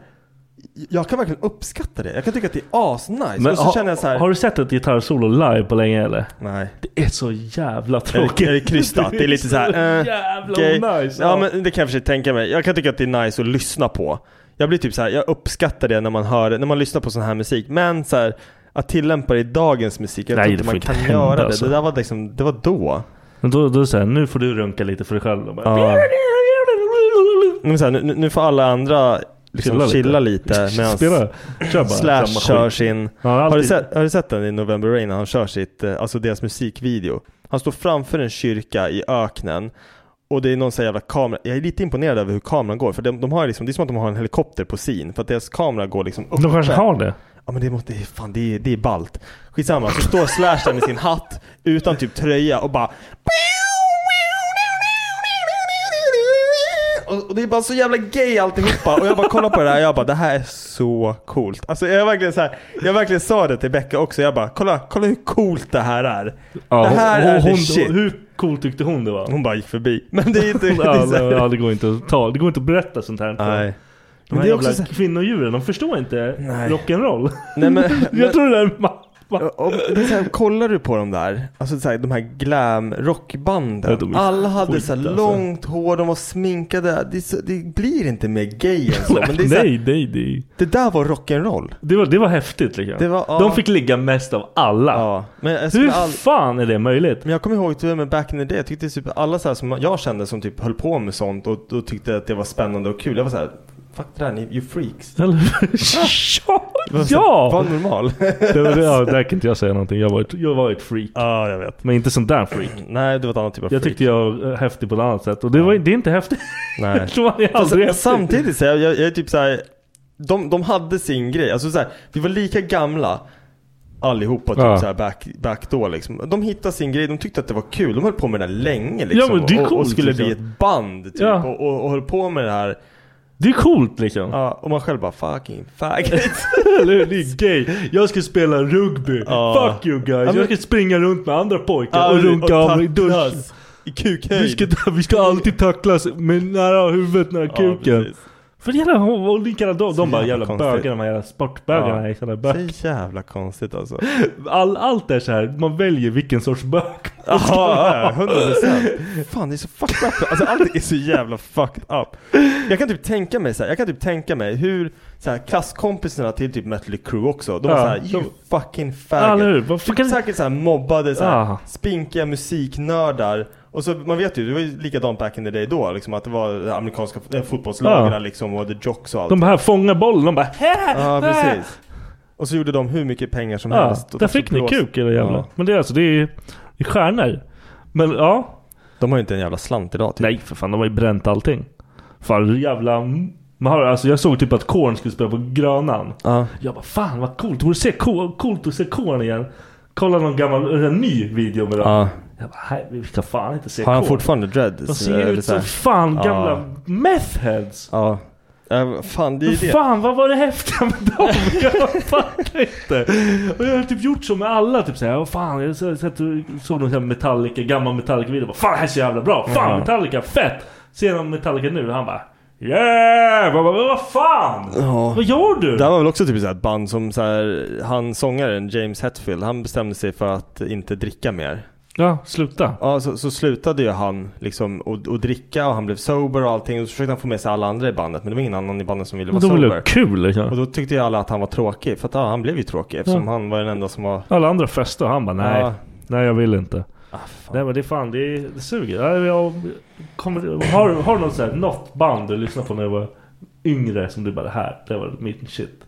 E: Jag kan verkligen uppskatta det. Jag kan tycka att det är asnice.
F: Men
E: och så
F: ha-
E: känner jag så här.
F: Har du sett ett gitarrsolo live på länge eller?
E: Nej.
F: Det är så jävla
E: Är det-
F: tråkigt.
E: är det krystat? Det är lite så här, eh,
F: jävla
E: Okej.
F: nice.
E: Ja men det kan jag för sig tänka mig. Jag kan tycka att det är nice att lyssna på. Jag blir typ så här, jag uppskattar det när man hör när man lyssnar på sån här musik. Men så här, att tillämpa det i dagens musik, jag
F: Nej,
E: tror
F: det
E: inte
F: får
E: man
F: inte
E: kan
F: hända,
E: göra det.
F: alltså.
E: Det där var liksom, det var då.
F: Men då, då säger nu får du runka lite för dig själv. Då Bara,
E: Ja. Men så här, nu, nu får alla andra liksom chilla, lite, medan
F: Spela. Kör bara.
E: Slash
F: samma skit.
E: kör sin...
F: Ja,
E: Har du,
F: alltid.
E: sett, har du sett den i November Rain när han kör sitt, eh, alltså deras musikvideo? Han står framför en kyrka i öknen och det är någon sån här jävla kamera. Jag är lite imponerad över hur kameran går för de, de har liksom, det är som att de har en helikopter på scen för att deras kamera går liksom uppe.
F: De kanske har det.
E: Ja men det måste, det är fan det är, det är ballt. Skitsamma, så står Slash där med sin hatt utan typ tröja och bara och, och det är bara så jävla gay alltihopa och jag bara kollar på det här och jag bara det här är så coolt. Alltså jag verkligen så här, jag verkligen sa det till Becka också. Jag bara kolla, kolla hur coolt det här är.
F: Ja,
E: det här
F: hon,
E: är
F: hon,
E: the shit.
F: Hur cool tyckte hon det var?
E: Hon bara gick förbi. Men det är inte... det är
F: ja,
E: så
F: men,
E: här-
F: ja, det går inte att ta. Det går inte att berätta sånt här.
E: Nej.
F: De
E: Men
F: här
E: det är
F: jävla
E: också så-
F: kvinnodjuren, de förstår inte
E: Nej.
F: rock'n'roll.
E: Nej, men- men-
F: jag tror det där är ma-
E: Om, det är så här, kollar du på de där, alltså så här, de här glam rockbanden.
F: Ja, de är
E: alla hade
F: skit,
E: så här,
F: alltså.
E: långt hår, de var sminkade. Det, är så, det blir inte mer gay än så. Men det, är så
F: nej,
E: här,
F: nej, nej.
E: det där var rock'n'roll.
F: Det var, det var häftigt liksom.
E: Det var- ja.
F: De fick ligga mest av alla.
E: Men jag skulle
F: Hur
E: all-
F: fan är det möjligt?
E: Men jag kommer ihåg till och med back in the day, jag tyckte typ alla så här som jag kände som typ höll på med sånt och, och tyckte att det var spännande och kul. Jag var så här, fuck det där, ni you freaks.
F: ja!
E: Jag var så här,
F: ja!
E: Var normal.
F: det, var- det, ja, där kan inte jag säga någonting. Jag var ett, jag var ett freak.
E: Ja, jag vet.
F: Men inte sånt där freak.
E: Nej, det var ett annat typ av freak.
F: Jag tyckte jag var eh, häftig på ett annat sätt. Och det, var, det är inte häftigt.
E: Nej.
F: Jag tror man är
E: Fast
F: aldrig häftig.
E: Alltså, samtidigt så här, jag, jag är typ så här, de, de hade sin grej. Alltså så här, vi var lika gamla allihopa typ
F: Ja.
E: så här back, back då liksom. De hittade sin grej, de tyckte att det var kul. De höll på med det där länge liksom.
F: Ja, men det är
E: och, och
F: coolt,
E: skulle
F: liksom.
E: bli ett band typ.
F: Ja.
E: Och, och, och höll på med det här.
F: Det är coolt liksom.
E: Ja, och man själv bara fucking faggot.
F: Eller hur? Det är gay. Jag ska spela rugby.
E: Ja.
F: Fuck you
E: Ja,
F: guys.
E: men-
F: Jag ska springa runt med andra pojkar
E: Ja,
F: och runka av mig i
E: tacklas
F: duschen.
E: I
F: Vi
E: kukhöjd.
F: ska, vi ska alltid tacklas med nära huvudet, nära kuken.
E: precis.
F: För jävla, och likadana de,
E: Så
F: de bara
E: jävla
F: jävla
E: konstigt.
F: bögar, de här jävla sportbögarna.
E: Ja.
F: är sådana
E: Så
F: bög.
E: jävla konstigt alltså.
F: All, allt är så här. man väljer vilken sorts bög.
E: Ja, hundra procent. Fan det är så fucked up. Alltså allt är så jävla fucked up. Jag kan typ tänka mig så här, jag kan typ tänka mig hur så här, klasskompisarna till typ Mötley Crüe också, de var
F: Ja,
E: såhär you fucking
F: Ja, eller hur?
E: faggot. Typ
F: Vad fan kan-
E: Säkert såhär mobbade, så här,
F: Ja.
E: spinkiga musiknördar. Och så, man vet ju, det var ju likadant back in the day då, liksom att det var de amerikanska eh, fotbollslagarna
F: Ja.
E: liksom och the jocks och allt.
F: De bara fångar bollen, de bara Hä!
E: Ja,
F: Hä!"
E: precis. Och så gjorde de hur mycket pengar som
F: Ja,
E: helst. Och
F: där
E: så
F: fick ni
E: blåste-
F: kuk era jävla.
E: Ja.
F: Men det är alltså, det är, det är stjärnor. Men ja,
E: De har ju inte en jävla slant idag typ.
F: Nej för fan, de har ju bränt allting. Fan jävla... Man har, alltså jag såg typ att Korn skulle spela på Grönan.
E: Ja.
F: Jag bara fan vad coolt, borde se Korn, coolt att se Korn igen. Kolla någon gammal, en ny video med dem.
E: Ja.
F: Jag bara, nej vi ska fan inte se
E: Har han
F: Korn."
E: fortfarande dreads?
F: De ser
E: Eller
F: ut
E: så här-
F: som fan
E: Ja.
F: gamla methheads.
E: Ja. Äh, fan det är ju det.
F: Fan vad var det häftiga med dem? Jag fattar inte. Och jag har typ gjort så med alla. Typ såhär, "Åh, fan, jag så- satt och såg någon sån här Metallica, gammal Metallica-video. Bara, Fan det här är så jävla bra. Fan
E: Ja.
F: Metallica, fett. Ser någon Metallica nu han bara Yeah! Vad, vad, vad fan?
E: Ja.
F: Vad gör du?
E: Det här var väl också typ så här ett band som så här, han sångaren James Hetfield, han bestämde sig för att inte dricka mer.
F: Ja, sluta.
E: Ja, så, så slutade ju han liksom att att dricka och han blev sober och allting och så försökte han få med sig alla andra i bandet men det var ingen annan i bandet som ville
F: Men
E: vara
F: då var
E: sober.
F: det kul
E: Och
F: liksom.
E: då tyckte ju alla att han var tråkig för att ja, han blev ju tråkig eftersom han var den enda som var...
F: Alla andra festade och han bara nej.
E: Ja.
F: Nej jag vill inte.
E: Ah, fan.
F: Nej men det är fan, det, är, det suger. Ja, Jag kommer, har, har du något, så här, något band du lyssnade på när du var yngre som du bara det här, det var min shit?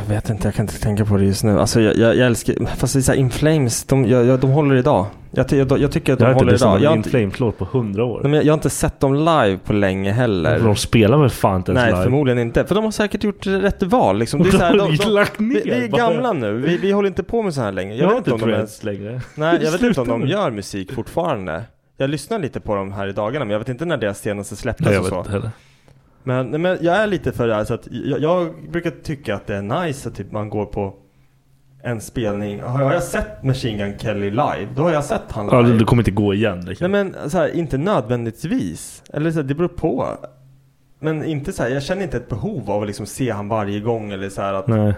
E: Jag vet inte, jag kan inte tänka på det just nu. Alltså jag, jag, jag älskar, fast det är så här, In Flames, de, jag, jag, de håller idag. Jag, ty- jag, jag tycker att de
F: Jag har inte
E: håller
F: lyssnat
E: idag.
F: på
E: Jag har
F: en
E: inte-
F: Inflames-låt på hundra
E: Nej,
F: år.
E: men jag, jag har inte sett dem live på länge heller.
F: De spelar väl fan inte ens
E: Nej,
F: live?
E: förmodligen inte. För de har säkert gjort rätt val liksom. Det är så här, de, de,
F: Lagt ner
E: vi, vi är
F: bara.
E: gamla nu, vi, vi håller inte på med så här längre. Jag,
F: Jag har
E: vet inte
F: inte
E: om de ens, Alltså,
F: Threads längre.
E: nej, jag vet inte om
F: Sluta
E: de
F: nu.
E: gör musik fortfarande. Jag lyssnar lite på dem här i dagarna, men jag vet inte när deras senaste släpptes
F: Nej, jag
E: och
F: vet
E: så.
F: inte heller.
E: Men, nej, men jag är lite för det här, så att jag, jag brukar tycka att det är nice att typ man går på en spelning. Har jag sett Machine Gun Kelly live, då har jag sett han
F: Ja,
E: live.
F: Alltså, du kommer inte gå igen.
E: Nej
F: Liksom.
E: men så här, inte nödvändigtvis. Eller så här, det beror på. Men inte så här, jag känner inte ett behov av att liksom se han varje gång eller så här att
F: Nej.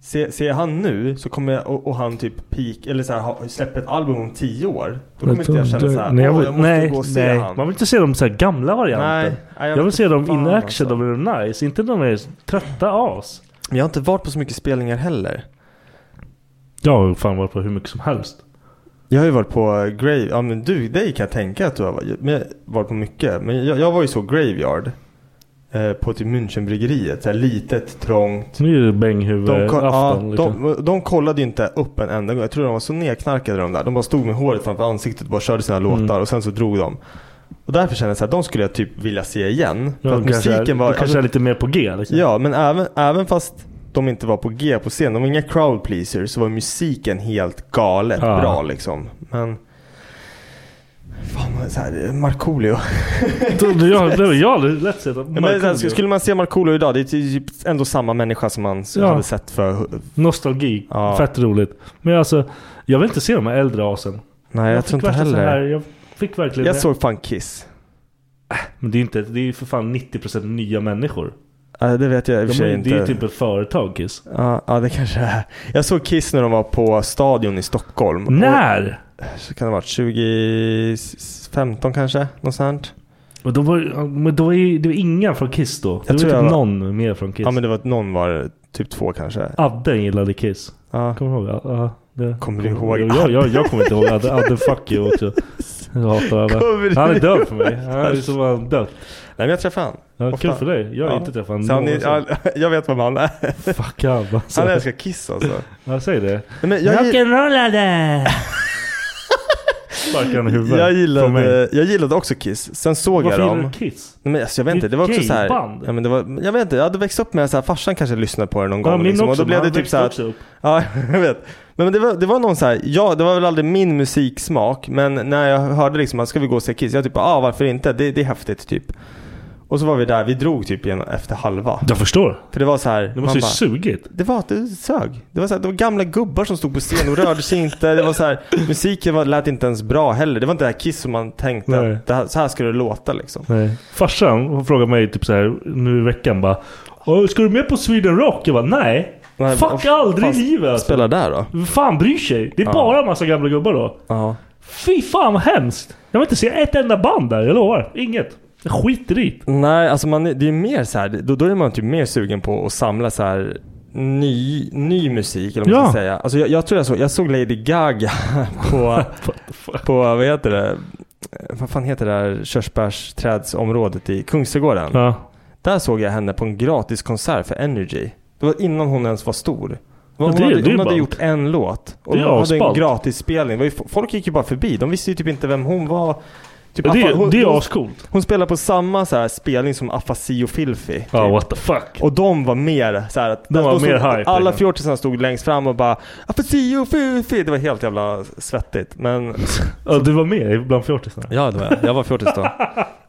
E: se, ser jag han nu så kommer jag, och, och han typ peak eller så här ha- släpper ett album om tio år. Då kommer inte jag känna så här,
F: Nej, jag
E: åh
F: vill-
E: jag måste
F: nej,
E: gå och se
F: nej.
E: han.
F: Man vill inte se de så här gamla varianterna.
E: nej, nej,
F: Jag vill
E: vet
F: se
E: inte
F: dem in
E: fan,
F: action,
E: alltså.
F: de är nice. Inte de är trötta as.
E: Men jag har inte varit på så mycket spelningar heller.
F: Jag har ju fan varit på hur mycket som helst.
E: Jag har ju varit på eh, Grave, ja men du, dig kan jag tänka att du har varit, men jag har varit på mycket. Men jag, jag var ju så Graveyard. Eh, på typ Münchenbryggeriet, så här litet, trångt.
F: Nu
E: De,
F: är det
E: ko- ja,
F: bänghuvudafton. liksom.
E: de, de kollade ju inte upp en enda gång. Jag tror de var så nedknarkade de där. De bara stod med håret framför ansiktet och bara körde sina
F: Mm.
E: låtar och sen så drog de. Och därför kände jag så här, de skulle jag typ vilja se igen. För
F: Ja,
E: att
F: de kanske
E: musiken
F: är,
E: var...
F: de kanske
E: alltså,
F: är lite mer på G. Liksom.
E: ja, men även, även fast de inte var på G på scen, de var inga crowd pleasers, så var musiken helt galet
F: Ja.
E: bra liksom. Men... Fan, vad så här, Markoolio.
F: Då- då- Jag då- jag har aldrig lätt sett att
E: Ja, Men, så här,
F: Markoolio-
E: skulle man se Markoolio idag, det är typ ändå samma människa som man
F: Ja.
E: hade sett för...
F: Nostalgi,
E: Ja.
F: fett roligt. Men alltså, jag vill inte se de här äldre asen.
E: Nej, jag, tror
F: fick
E: inte
F: värsta så
E: heller.
F: Här, jag fick verkligen
E: Jag såg fan Kiss.
F: Men det är ju inte, det är ju för fan 90% nya människor.
E: Ja, det vet jag i och för
F: De
E: sig
F: är,
E: inte.
F: Det är ju typ ett företag Kiss.
E: Ja, ja, det kanske är. Jag såg Kiss när de var på Stadion i Stockholm.
F: När?
E: Och, så kan det ha varit 2015 kanske? Något sånt.
F: Men då var, ja, men då är ju- det var inga från Kiss då. Det
E: Jag tror
F: var typ
E: jag var-
F: någon mer från Kiss.
E: Ja, men det var någon var det, typ två kanske.
F: Adde gillade Kiss.
E: Ja.
F: Kommer du ihåg? Ja, ja, det-
E: Kommer du ihåg
F: Jag, jag, jag kommer inte ihåg Adde. Adde fuck you också. Jag hatar
E: Kommer
F: Adde.
E: du
F: Han är död för mig.
E: ihåg?
F: Han är som han död.
E: Nej, men jag träffade han.
F: Ja,
E: Ofta.
F: kul för dig. Jag har inte träffat honom
E: Så han. Är, ja,
F: någonsin.
E: jag vet vem han är.
F: Fuck han alltså.
E: Han älskar Kiss alltså.
F: Ja, säg det.
E: Nej, men jag, gill-
F: Rock'n'rollade! Sparkar han i huvudet.
E: jag,
F: Från mig.
E: gillade, jag gillade också Kiss. Sen såg
F: Varför
E: jag
F: gillar
E: dem.
F: du Kiss?
E: Nej, men alltså, jag vet
F: Det är
E: inte, det var
F: ett
E: också så här,
F: gayband.
E: ja, men det var, Jag vet inte, jag hade växt upp med så här, farsan kanske lyssnade på det någon
F: Ja,
E: gång.
F: min
E: Liksom, och
F: också,
E: då blev
F: men
E: det
F: han
E: typ
F: växte
E: så här,
F: också upp.
E: Ja, jag vet. Nej, men det var, det var någon så här, ja det var väl aldrig min musiksmak, men när jag hörde liksom att ska vi gå och se Kiss? Jag typ, ja ah, varför inte? Det, det är häftigt typ. Och så var vi där, vi drog typ igen efter halva.
F: Jag förstår.
E: För det var så här,
F: Det
E: man
F: måste ju
E: bara-
F: sugit.
E: det var att det sög. Det var, så här, det var gamla gubbar som stod på scen och rörde sig inte. Det var så här, musiken var, lät inte ens bra heller. Det var inte det här Kiss som man tänkte
F: Nej.
E: att det här, så här skulle det låta liksom.
F: Nej. Farsan hon frågade mig typ så här nu i veckan bara "Åh, Ska du med på Sweden Rock? Jag bara nej.
E: Nej,
F: Fuck
E: vad
F: aldrig i
E: fan
F: livet alltså.
E: Spela där då?
F: Vem fan bryr sig? Det är
E: Ja.
F: bara en massa gamla gubbar då.
E: Ja.
F: Fy fan vad hemskt. Jag vill inte se ett enda band där, jag lovar. Inget. Jag skiter i
E: Nej, alltså man, det är mer så här, då, då är man typ mer sugen på att samla så här ny, ny musik eller vad man
F: Ja.
E: ska säga. Alltså jag, jag tror jag såg, jag såg Lady Gaga på, på, vad heter det? Vad fan heter det där körsbärsträdsområdet i Kungsträdgården?
F: Ja.
E: Där såg jag henne på en gratis konsert för Energy. Det var innan hon ens var stor. Hon,
F: det är-
E: hade,
F: det är
E: hon hade
F: ballt.
E: gjort en låt. Och
F: Det är
E: hon hade en
F: asballt.
E: gratis spelning. Det var ju, folk gick ju bara förbi. De visste ju typ inte vem hon var. Typ,
F: Det,
E: Affa-
F: är-
E: hon,
F: det är
E: hon,
F: ascoolt.
E: hon spelade på samma så här spelning som Afasi och Filfi. Typ.
F: Ja, what the fuck.
E: Och de var mer så här att...
F: De var
E: stod,
F: mer hype,
E: Alla
F: liksom.
E: fjortisarna stod längst fram och bara Afasi och Filfi. Det var helt jävla svettigt. Men...
F: Ja, du var med bland fjortisarna.
E: Ja, det var jag. Jag var fjortis då.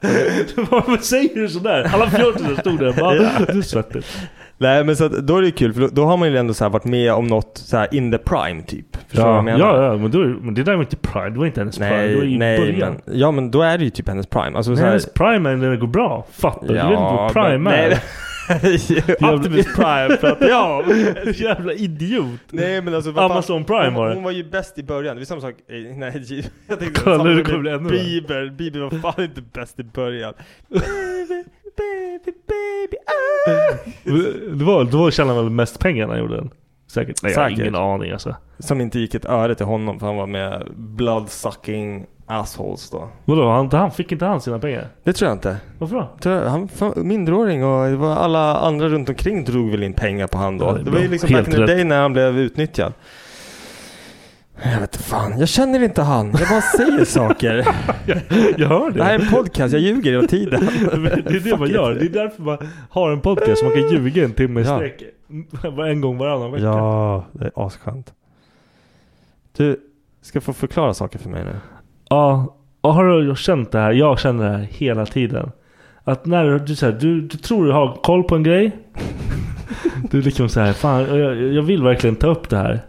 F: Varför säger du sådär? Alla fjortisar stod där och bara, du är svettig.
E: Nej men så att, då är det ju kul för då, då har man ju ändå så här varit med om något så här in the prime typ. Förstår du vad jag
F: Ja,
E: menar?
F: ja, ja men, då, är- men det där var inte Pride. Det var inte hennes Pride. Det var
E: Nej,
F: i
E: nej
F: början.
E: men, ja men då är det ju typ hennes prime. Alltså, så
F: Nej,
E: här,
F: hennes prime är när det går bra. Fattar du? Du vet inte vad prime
E: men-
F: är.
E: Nej, Optimus prime pratar jag om.
F: Jävla idiot.
E: Nej men alltså vad fan-
F: Amazon Prime
E: hon,
F: var det.
E: Hon var ju bäst i början. Det är samma sak. eh, Nej, jag tänkte
F: Kolla,
E: samma
F: nu
E: sak
F: kommer
E: med
F: det ännu värre.
E: Bieber. Bieber var fan inte bäst i början. Baby, baby, baby. Ah.
F: Det var, det var tjänade väl mest pengar när han gjorde den? Säkert. Nej, jag har
E: Säkert.
F: ingen aning alltså.
E: Som inte gick ett öre till honom för han var med bloodsucking assholes då.
F: Vadå? Han, han fick inte han sina pengar?
E: Det tror jag inte.
F: Varför då?
E: Tror jag, han var minderåring och det var alla andra runt omkring drog väl in pengar på han då.
F: Ja, det
E: det,
F: är
E: var ju
F: bra.
E: liksom
F: Helt
E: back in the
F: rätt.
E: day när han blev utnyttjad. Jag vet inte fan, jag känner inte han. Jag bara säger saker.
F: Jag hör det.
E: Det här är en podcast, jag ljuger hela tiden.
F: det är det man
E: Fuck
F: gör.
E: it.
F: Det är därför man har en podcast så man kan ljuga en timme i
E: Ja.
F: sträck. En gång varannan vecka.
E: Ja, det är asskönt. Du, ska få förklara saker för mig nu.
F: Ja, och har du känt det här? Jag känner det här hela tiden. Att när du, så här, du, du tror du har koll på en grej. du är liksom så här, fan jag, jag vill verkligen ta upp det här.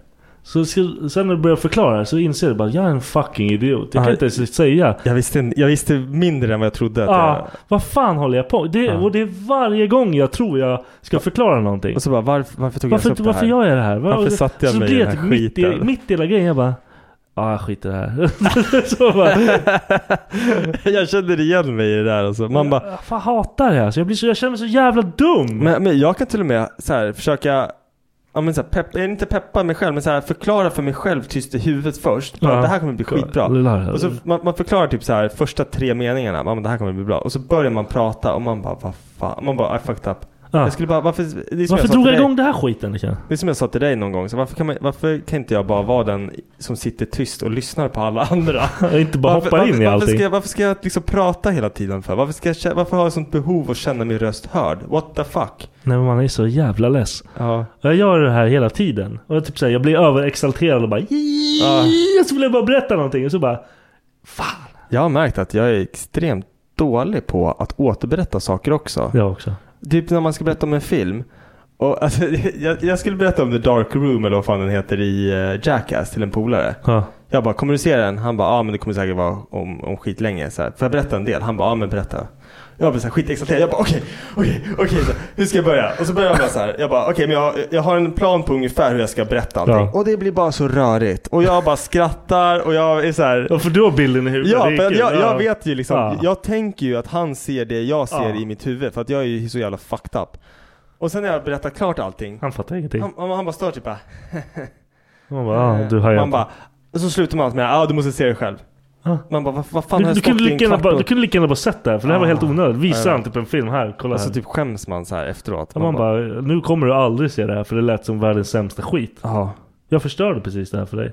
F: Så ska, sen när du börjar förklara så inser du bara, jag är en fucking idiot. Jag
E: Ja.
F: kan inte ens säga.
E: Jag visste, jag visste mindre än vad jag trodde att
F: Ah, vad fan håller jag på det,
E: Ja.
F: Och det är varje gång jag tror jag ska förklara någonting.
E: jag... Och så bara, varför, varför tog jag
F: Varför,
E: ens upp det
F: varför
E: här?
F: gör jag det här? Var-
E: Varför satte jag
F: så
E: mig i
F: blir
E: den
F: jag
E: här
F: typ mitt i,
E: skiten?
F: mitt i hela grejen. Jag bara, ja jag skiter i det här. så bara,
E: jag känner igen mig i det där alltså. Man bara, Mm.
F: Jag fan hatar det här. Så jag, blir så, jag känner mig så jävla dum.
E: Men, men jag kan till och med så här, försöka Ja men så här, pepp, jag är inte peppa mig själv men så här, förklara för mig själv tyst i huvudet först. Bara,
F: Ja.
E: Det här kommer bli skitbra.
F: Lilla-
E: Och så man, man förklarar typ så här första tre meningarna. Man bara, det här kommer bli bra. Och så börjar man prata och man bara vad fan. Man bara I fucked up.
F: Ja.
E: Jag skulle bara varför. Det är som
F: Varför
E: jag sa
F: drog
E: till
F: jag
E: dig.
F: igång den här skiten? Liksom?
E: Det är som jag sa till dig någon gång. Så varför, kan man, varför kan inte jag bara vara den som sitter tyst och lyssnar på alla andra?
F: Jag inte bara
E: varför,
F: hoppar in
E: varför,
F: i
E: varför
F: allting.
E: ska, jag, varför ska jag liksom prata hela tiden för? Varför, ska jag, kä- varför har jag sånt behov att känna min röst hörd? What the fuck?
F: Nej, men man är så jävla less.
E: Ja.
F: Och Jag gör det här hela tiden. Och jag, typ så här, jag blir överexalterad och bara
E: Ja.
F: och så vill jag bara berätta någonting. Och så bara Fan.
E: Jag har märkt att jag är extremt dålig på att återberätta saker också.
F: Jag också.
E: Typ när man ska berätta om en film. Och, alltså, jag, jag skulle berätta om The Dark Room eller vad fan den heter i eh, Jackass till en polare.
F: Ja.
E: Jag bara, kommer du se den? Han bara, ja ah, men det kommer säkert vara om, om skit länge. Så här, Får jag berätta en del? Han bara, ja ah, men berätta. Jag blev så här skitexalterad. Jag bara okej, okej, okej. så här, Hur ska jag börja? Och så började jag bara så här. Jag bara okej, men jag, jag har en plan på ungefär hur jag ska berätta allting.
F: Ja.
E: Och det blir bara så rörigt. Och jag bara skrattar och jag är så här.
F: Ja, för du har bilden i huvudet.
E: Ja,
F: det är
E: för
F: kul.
E: jag,
F: Ja.
E: jag vet ju liksom.
F: Ja.
E: Jag tänker ju att han ser det jag ser
F: Ja.
E: i mitt huvud. För att jag är ju så jävla fucked up. Och sen när jag berättat klart allting.
F: Han fattar ingenting.
E: Han, han, han bara står typ bara.
F: Man bara, ah, du hajar
E: Man
F: inte.
E: bara. Och så slutar man med ja ah, du måste se det själv.
F: Ah.
E: Man bara vad, vad fan
F: Du,
E: har jag
F: du,
E: stått
F: kunde
E: i
F: lika
E: en
F: gärna
E: kvart
F: bara,
E: och-
F: du kunde lika gärna bara sett det här, för det här var
E: Ah.
F: helt onödigt. Visa
E: Ja.
F: han typ en film här, kolla
E: Och så
F: här.
E: typ skäms man så här efteråt.
F: Ja, man bara, nu kommer du aldrig se det här för det lät som världens sämsta skit.
E: Ja.
F: Jag förstörde precis det här för dig.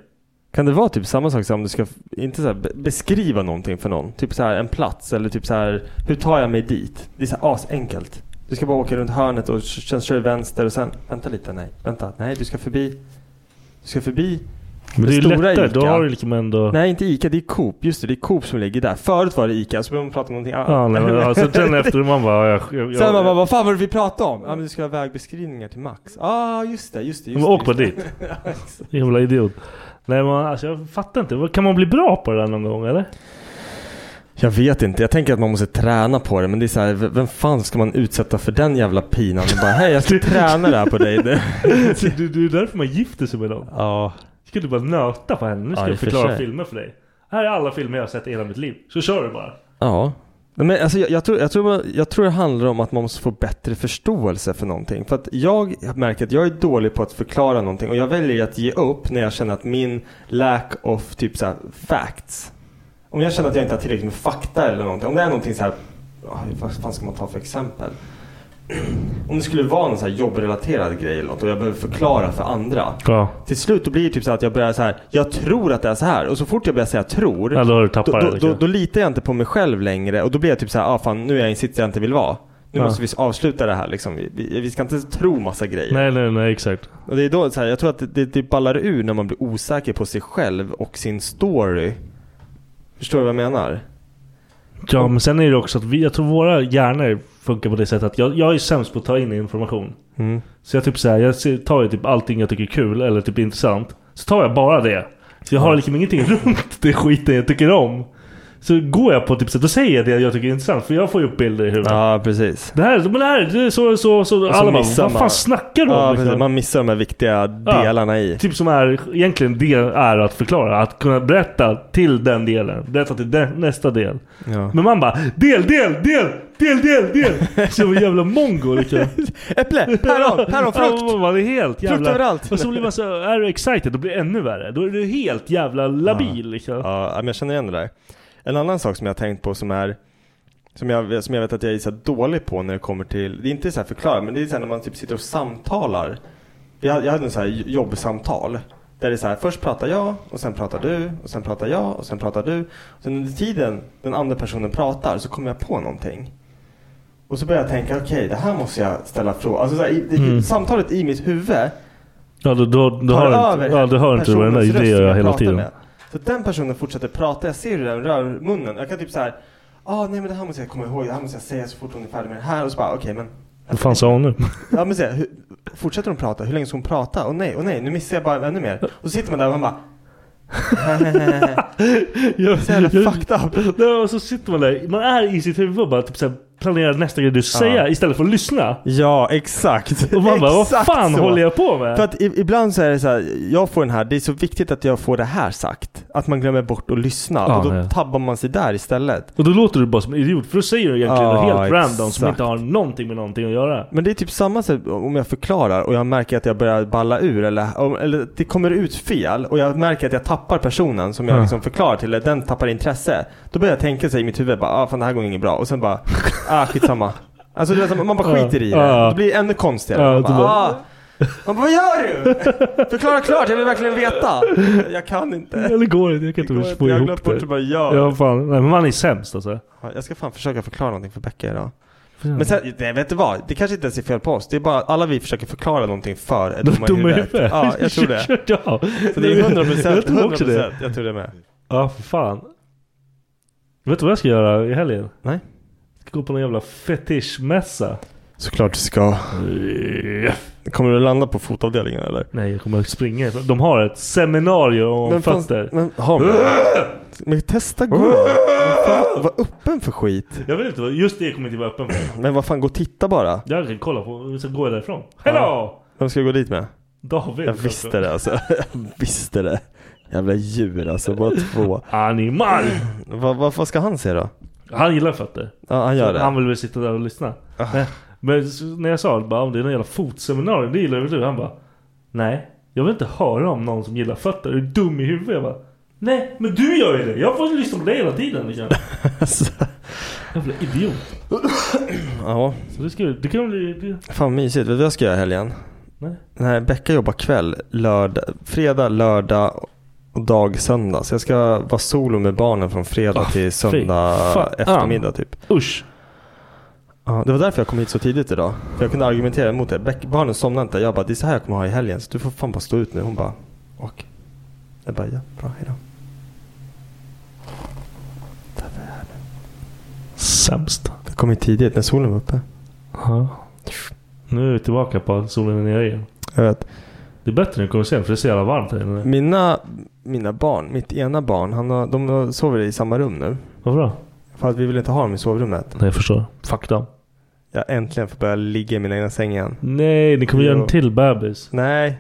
E: Kan det vara typ samma sak som om du ska, f- inte så här, be- beskriva någonting för någon? Typ så här en plats eller typ så här hur tar jag mig dit? Det är så här asenkelt. Du ska bara åka runt hörnet och k- sen kör du vänster och sen, vänta lite, nej, vänta, nej du ska förbi, du ska förbi.
F: Men det är ju
E: stora
F: lättare, då
E: Ica.
F: har du liksom ändå...
E: Nej inte Ica, det är Coop, just det, det är Coop som ligger där. Förut var det Ica, så började man prata om någonting annat.
F: Ja, nej, men, ja, så sen efter man bara, ja, jag, jag,
E: Sen man bara, vad fan var det vi pratade om? Ja men du ska ha vägbeskrivningar till Max. Ah just det, just det, just
F: Men
E: det.
F: åk bara
E: just det.
F: dit.
E: Ja, exakt.
F: Jävla idiot. Nej men alltså jag fattar inte. Vad- Kan man bli bra på det där någon gång eller?
E: Jag vet inte, jag tänker att man måste träna på det men det är så här, v- vem fan ska man utsätta för den jävla pinan? Och bara, hej jag ska träna det här på dig. Det-
F: Det, det, det är därför man gifter sig med dem.
E: Ja,
F: Ska du bara nöta på henne? Nu ska
E: Ja, i
F: jag
E: och för
F: förklara
E: sig.
F: filmer för dig. Här är alla filmer jag har sett i hela mitt liv. Så kör du bara.
E: ja. Nej, Men alltså, jag, jag, tror, jag, tror, man- jag tror det handlar om att man måste få bättre förståelse för någonting. För att jag märker att jag är dålig på att förklara någonting och jag väljer att ge upp när jag känner att min lack of typ så här, facts. Om jag känner att jag inte har tillräckligt med fakta eller någonting. Om det är någonting så här, ja, vad fan ska man ta för exempel? Om det skulle vara någon så här jobbrelaterad grej eller något och jag behöver förklara för andra.
F: Ja.
E: Till slut då blir det typ så här att jag börjar så här. Jag tror att det är så här. Och så fort jag börjar säga tror.
F: Ja, då har du tappat
E: då,
F: det,
E: då,
F: liksom.
E: då, då litar jag inte på mig själv längre. Och då blir jag typ så här. Ah, fan, nu är jag i en sits jag inte vill vara. Nu
F: Ja.
E: måste vi avsluta det här liksom. Vi, vi, vi ska inte tro massa grejer.
F: Nej nej nej exakt.
E: Och det är då så här, jag tror att det, det, det ballar ur när man blir osäker på sig själv och sin story. Förstår du vad jag menar?
F: Ja men sen är det också att vi, jag tror våra hjärnor funkar på det sättet att jag, jag är sämst på att ta in information.
E: Mm.
F: Så jag typ så här, jag ser- tar ju typ allting jag tycker är kul eller typ intressant. Så tar jag bara det. Så jag har liksom ingenting runt det skiten jag tycker om. Så går jag på typ så här, då säger jag det jag tycker är intressant. För jag får ju upp bilder i huvudet.
E: Ja, precis.
F: Det här, men det här, det är så, så, så.
E: så
F: Alla bara,
E: missar
F: vad
E: man-
F: fan snackar du om?
E: Ja,
F: liksom?
E: precis. Man missar de här viktiga
F: Ja.
E: delarna i.
F: Typ som är, egentligen det är att förklara. Att kunna berätta till den delen. Berätta till den, nästa del.
E: Ja.
F: Men man bara, del, del, del, del, del, del. Som en jävla mongo liksom.
E: Äpple, päron, päronfrukt.
F: Ja, man är helt jävla...
E: Frukt överallt.
F: Och så blir man så, är du excited, då blir det ännu värre. Då är du helt jävla labil liksom.
E: Ja, men jag känner igen det där. En annan sak som jag har tänkt på som är som jag, som jag vet att jag är så här dålig på när det kommer till, det är inte så här förklara, men det är så här när man typ sitter och samtalar. Jag, jag hade en så här jobbsamtal. Där det är så här, först pratar jag och sen pratar du och sen pratar jag och sen pratar du. Och sen under tiden den andra personen pratar så kommer jag på någonting. Och så börjar jag tänka, okej det här måste jag ställa frågor. Alltså så här, i, det,
F: Mm.
E: samtalet i mitt huvud
F: Ja, då, då, då
E: tar
F: hör
E: över
F: inte, ja, du hör inte vad den
E: personens
F: där, det
E: röst
F: gör
E: som
F: jag hela
E: pratar
F: tiden.
E: med. Så den personen fortsätter prata, jag ser hur den rör munnen. Jag kan typ så här, ah nej men det här måste jag komma ihåg, det här måste jag säga så fort hon är färdig med det här. Och så bara, okej men.
F: Vad fan sa hon nu?
E: Ja men så här, hur, fortsätter hon prata? Hur länge ska hon prata? Och nej, och nej, nu missar jag bara ännu mer. Och så sitter man där och man bara,
F: Jag,
E: så jävla fucked up.
F: Nej, och så sitter man där, man är i sitt huvud och bara typ så här, planerar nästa grej du ska säga istället för att lyssna.
E: Ja, exakt.
F: Och man bara, vad
E: Exakt
F: fan
E: så.
F: håller jag på med?
E: För att i- ibland så är det så här, jag får den här, det är så viktigt att jag får det här sagt. Att man glömmer bort att lyssna
F: Ja,
E: och då
F: nej.
E: tabbar man sig där istället.
F: och då låter du bara som en idiot, för då säger du egentligen
E: Ja,
F: något helt random som
E: exakt.
F: inte har någonting med någonting att göra.
E: Men det är typ samma sätt om jag förklarar och jag märker att jag börjar balla ur eller, om- eller det kommer ut fel och jag märker att jag tappar personen som jag
F: Ja.
E: liksom förklarar till, eller den tappar intresse. Då börjar jag tänka sig i mitt huvud bara, ah fan det här går inget bra och sen bara, ah skitsamma. Alltså det är som, man bara
F: Ja.
E: skiter i det.
F: Ja.
E: Det blir ännu konstigare.
F: Ja,
E: man,
F: du
E: bara,
F: bara-
E: ah. man bara, vad gör du? Förklara klart, jag vill verkligen veta. Jag kan inte.
F: Eller går det? Jag kan
E: Det går
F: inte
E: inte.
F: få
E: Jag har
F: ihop
E: glömt bort
F: det.
E: hur man gör.
F: Ja, fan. Nej, men man är sämst alltså.
E: Jag ska fan försöka förklara någonting för Becka idag. Men sen, nej, vet du vad? Det kanske inte ens är fel på oss. Det är bara att alla vi försöker förklara någonting för är
F: De
E: dumma i huvudet.
F: huvudet.
E: Ja, jag tror det.
F: ja.
E: Så det är 100
F: Jag
E: procent.
F: tror också det.
E: Jag tror det med.
F: Ja, för fan. Vet du vad jag ska göra i helgen?
E: Nej.
F: Jag ska gå på någon jävla fetischmässa.
E: Såklart du ska. Kommer du landa på fotavdelningen eller?
F: Nej, jag kommer springa. De har ett seminarium om
E: Men fanns-
F: fötter.
E: men har man- Men testa gå. Men fan, Var öppen för skit.
F: Jag vet inte, vad- just det kommer jag inte vara öppen för.
E: Men vad fan, gå och titta bara.
F: Jag kan kolla på, vi ska gå därifrån. Hello!
E: Vem ska jag gå dit med?
F: David.
E: Jag visste det alltså. Jag visste det. Jävla djur alltså, bara två.
F: Animal!
E: Vad, vad, vad ska han se då?
F: Han gillar fötter.
E: Ja, han gör
F: Så
E: det. Ah.
F: Han vill väl sitta där och lyssna. Men, men s- när jag sa bara, om det är någon jävla fotseminarium, det gillar väl du? Han bara Nej, jag vill inte höra om någon som gillar fötter. Är du dum i huvudet? Jag bara Nej, men du gör ju det. Jag får lyssna på dig hela tiden. Liksom. Jävla idiot.
E: Ja,
F: Så det, ska, det kan bli... Det,
E: fan mysigt. Vet du vad jag ska göra i helgen?
F: Nej.
E: Nej, Becka jobbar kväll. Lördag, fredag, lördag och dag söndag. Så jag ska vara solo med barnen från fredag till söndag
F: Ah, fan.
E: eftermiddag typ.
F: usch.
E: Ja, det var därför jag kom hit så tidigt idag. För jag kunde argumentera emot det. Beck, barnen somnade inte. Jag bara, det är så här jag kommer ha i helgen. Så du får fan bara stå ut nu. Hon bara, och. Jag bara, ja, bra, hejdå.
F: Sämst.
E: Jag kom hit tidigt när solen var uppe.
F: Ja. Nu är vi tillbaka på att solen är nere igen.
E: Jag vet.
F: Det är bättre nu kommer sen för det är så jävla varmt här inne.
E: Mina, mina barn, mitt ena barn, han har, de sover i samma rum nu.
F: Varför då?
E: För att vi vill inte ha dem i sovrummet.
F: Nej jag förstår. Fuck dem.
E: Jag äntligen får börja ligga i min egna säng igen.
F: Nej, ni kommer göra en
E: Jo.
F: till bebis.
E: Nej.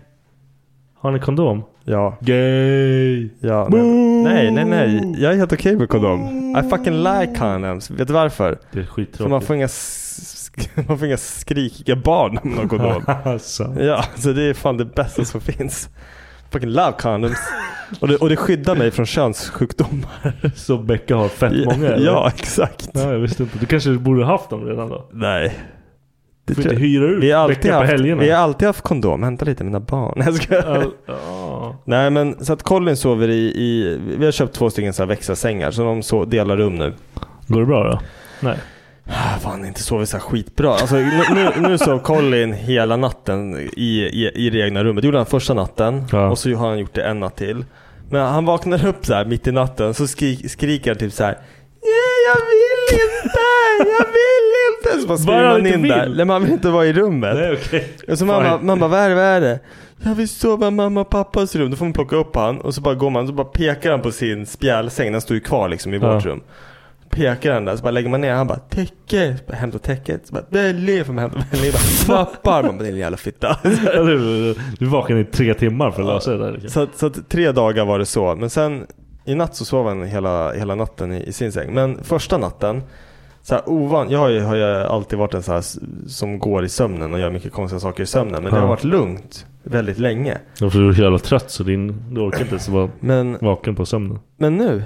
F: Har ni kondom?
E: Ja.
F: Gay!
E: Ja, men, nej, nej, nej. Jag är helt okej med kondom. I fucking like condoms. Vet du varför?
F: Det är
E: För man
F: skittråkigt.
E: får inga, s- sk- man får inga skrikiga barn om man har kondom.
F: alltså.
E: Ja, så det är fan det bästa som finns. Fucking love condoms. Och det, och det skyddar mig från könssjukdomar.
F: Så Becka har fett många? eller?
E: Ja, exakt.
F: ja. Jag visste inte. Du kanske borde haft dem redan då?
E: Nej. Det
F: Du får
E: tror jag-
F: inte hyra ut
E: vi, har alltid
F: Becka på
E: haft,
F: helgerna.
E: vi har alltid haft kondom. Hämta lite mina barn. Nej, jag skojar.
F: Ja, ja.
E: Nej men så att Colin sover i, i vi har köpt två stycken så här växelsängar så de so- delar rum nu.
F: Går det bra då? Nej.
E: Ah, Fan inte sover så här skitbra. Alltså, nu, nu, nu sov Colin hela natten i, i, i det egna rummet. Det gjorde han första natten
F: Ja.
E: och så har han gjort det en natt till. Men han vaknar upp så här mitt i natten så skri, skriker han typ så här. Nej jag vill inte! Jag vill inte! Så bara
F: Bara
E: springer
F: han
E: man
F: inte
E: in
F: vill.
E: där. Nej, man vill inte vara i rummet.
F: Nej okej.
E: Och så Alltså, mamma,
F: Fine.
E: mamma vad är det, vad är det? Jag vill sova i mamma och pappas rum. Då får man plocka upp han och så bara går man så bara pekar han på sin spjälsäng. Den står ju kvar liksom i
F: Ja.
E: vårt rum. Pekar han där så bara lägger man ner han bara täcke. Så bara, hämta täcket. Så bara Nelly. Får man hämta Nelly. Bara knappar. Man bara din jävla fitta.
F: Ja, Du, du vaknade i tre timmar för att lösa det där. Liksom.
E: Så, att, så att tre dagar var det så. Men sen i natt så sov han hela, hela natten i, i sin säng. Men första natten. Så här ovan, jag har ju, har ju alltid varit en så här s- som går i sömnen och gör mycket konstiga saker i sömnen. Men det
F: Ja.
E: har varit lugnt väldigt länge.
F: Ja, för du är så jävla trött så din, du orkar inte ens vara
E: Men
F: vaken på sömnen.
E: Men nu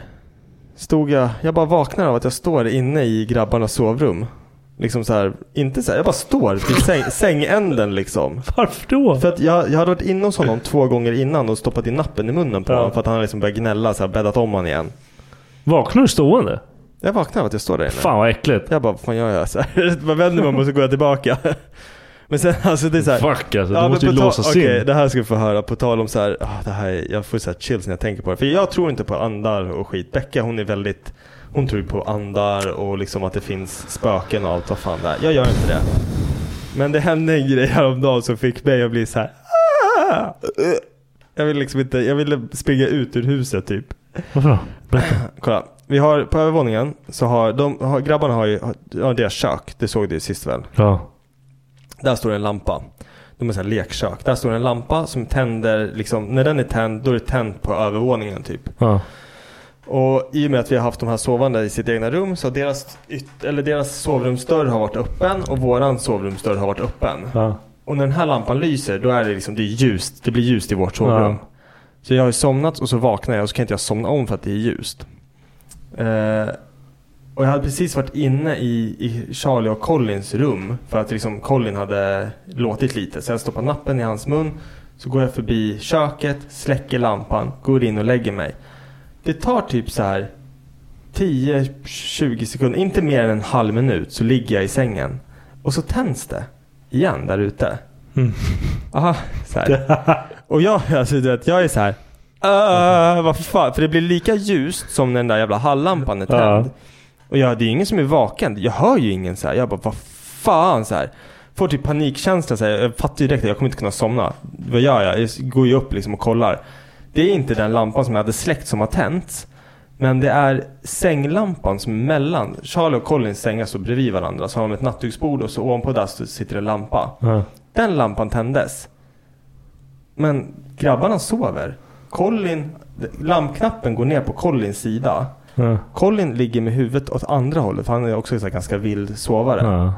E: stod jag, jag bara vaknar av att jag står inne i grabbarnas sovrum. Liksom så här, inte så här, jag bara står vid säng, sängänden liksom.
F: Varför då?
E: För att jag, jag hade varit inne hos honom två gånger innan och stoppat in nappen i munnen på
F: Ja.
E: honom för att han liksom började gnälla så här, bäddat om honom igen.
F: Vaknar du stående?
E: Jag vaknar av att jag står där inne.
F: Fan vad äckligt.
E: Jag bara, vad fan gör jag? Så här, bara vänder mig om och så går jag tillbaka. Men sen alltså det är så här,
F: Fuck alltså,
E: Ja,
F: du
E: men
F: måste ju
E: på ta-
F: låsas
E: okej,
F: in.
E: det här ska vi få höra. På tal om så här, ah, det här, är- jag får så här chills när jag tänker på det. För jag tror inte på andar och skit. Becka hon är väldigt, hon tror på andar och liksom att det finns spöken och allt vad fan det är. Jag gör inte det. Men det hände en grej häromdagen som fick mig att bli så här. "Ah!" Jag ville liksom inte, jag ville springa ut ur huset typ.
F: Varför då? Berätta.
E: Kolla, vi har på övervåningen så har de, har, grabbarna har ju, har, har deras kök. Det såg du ju sist väl?
F: Ja.
E: Där står det en lampa. De har så här lekkök. Där står det en lampa som tänder, liksom, när den är tänd, då är det tänt på övervåningen typ.
F: ja.
E: Och i och med att vi har haft de här sovande i sitt egna rum så har deras, yt- eller deras sovrumsdörr har varit öppen och våran sovrumsdörr har varit öppen.
F: ja.
E: Och när den här lampan lyser då är det liksom, det är ljust, det blir ljust i vårt sovrum. Så jag har ju somnat och så vaknar jag och så kan inte jag somna om för att det är ljust. Eh, och jag hade precis varit inne i, i Charlie och Collins rum för att liksom Colin hade låtit lite. Så jag stoppar nappen i hans mun. Så går jag förbi köket, släcker lampan, går in och lägger mig. Det tar typ så här 10-20 sekunder, inte mer än en halv minut så ligger jag i sängen. Och så tänds det igen där ute.
F: Mm.
E: Aha, så här. Och jag, alltså, du vet, jag är så här. "Ah, vad fan? För det blir lika ljust som när den där jävla hallampan är tänd.
F: Ja.
E: Och jag, det är ingen som är vaken. Jag hör ju ingen så här. Jag bara, vad fan så här. får typ panikkänsla. Så här, jag fattar ju direkt att jag kommer inte kunna somna. Vad gör jag? Jag går ju upp liksom och kollar. Det är inte den lampan som jag hade släckt som har tänts. Men det är sänglampan som är mellan. Charlie och Collins sängar står bredvid varandra. Så har de ett nattduksbord och så ovanpå där så sitter en lampa.
F: Ja.
E: Den lampan tändes. Men grabbarna sover. Colin, lampknappen går ner på Collins sida.
F: Ja.
E: Colin ligger med huvudet åt andra hållet, för han är också så här ganska vild sovare.
F: Ja.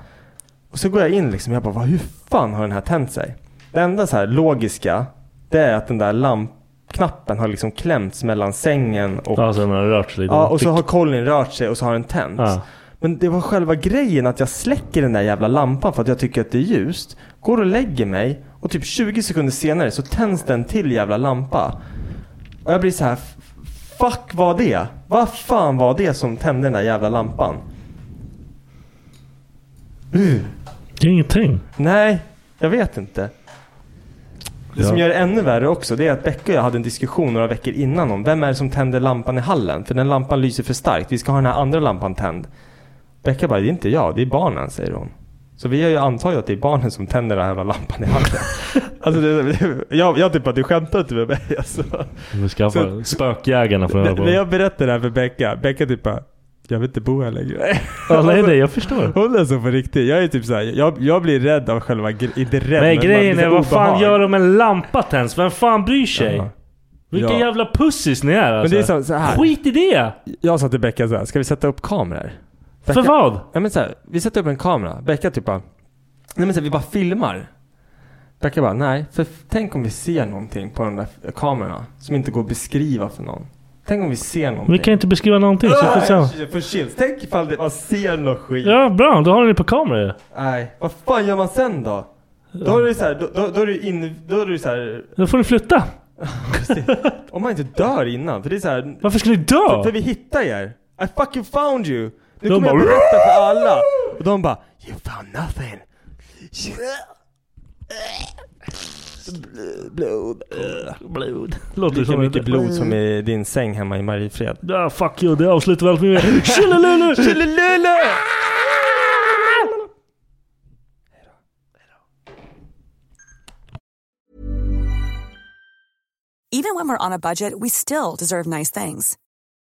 E: Och så går jag in liksom, jag bara, "Vad- hur fan har den här tänt sig? Det enda så här logiska, det är att den där lampknappen har liksom klämts mellan sängen och...
F: Ja, så den har rört sig lite.
E: Ja, och så har Colin rört sig och så har den tänts.
F: Ja.
E: Men det var själva grejen att jag släcker den där jävla lampan för att jag tycker att det är ljust. Går och lägger mig och typ 20 sekunder senare så tänds den till jävla lampa. Och jag blir så här, "F- fuck var det? Vad fan var det som tände den där jävla lampan?
F: Det är ingenting.
E: Nej, jag vet inte. Det som
F: Ja.
E: gör det ännu värre också, det är att Becka och jag hade en diskussion några veckor innan om vem är det som tänder lampan i hallen? För den lampan lyser för starkt, vi ska ha den här andra lampan tänd. Becka bara, det är inte jag, det är barnen, säger hon. Så vi har ju antagit att det är barnen som tänder den här jävla lampan i hallen. alltså, det, det, jag, jag typ bara, du skäntar inte med mig alltså.
F: Vi
E: Så-
F: skaffar spökjägarna för den här
E: När när
F: på.
E: jag berättar det här för Becka, Becka typ bara, jag vill inte bo här längre.
F: Ja, nej, nej, jag förstår.
E: Hon är så på riktigt. Jag är typ såhär, jag, jag blir rädd av själva gre- inte rädd,
F: Men
E: man
F: grejen
E: blir
F: är,
E: så
F: vad fan
E: obehag.
F: gör de med en lampa tänds? Vem fan bryr sig?
E: Ja.
F: Vilka
E: Ja.
F: jävla pussis ni är
E: Men
F: alltså.
E: det är så, så här.
F: Skit i det!
E: Jag sa till Becka såhär, ska vi sätta upp kameror? Becka,
F: För vad?
E: Ja men såhär, vi sätter upp en kamera. Becka typ bara, nej men såhär, vi bara filmar. Becka bara, nej, för f- tänk om vi ser någonting på de där f- kamerorna som inte går att beskriva för någon. Tänk om vi ser någonting.
F: Vi kan inte beskriva någonting. Så skitsamma.
E: Nej, för shit. Tänk ifall det, man ser något skit.
F: ja, bra. Då har ni det på kamera ju.
E: Nej, vad fan gör man sen då? Då är det såhär, då, då, då är det in, då är det såhär
F: Då får ni flytta.
E: Om man inte dör innan, för det är så här.
F: Varför ska ni
E: För,
F: dö?
E: för vi hittar er! I fucking found you! Nu
F: De
E: kommer jag
F: bara-
E: berätta för alla! Och de bara You found nothing! Blod. Blod.
F: Låter
E: Lika
F: som
E: mycket
F: en-
E: blod som i din säng hemma i Mariefred.
F: Ja, fuck you. Det avslutar väl allt med Tjolilulu!
E: Tjolilulu!
F: Ah!
I: Even when we're on a budget, we still deserve nice things.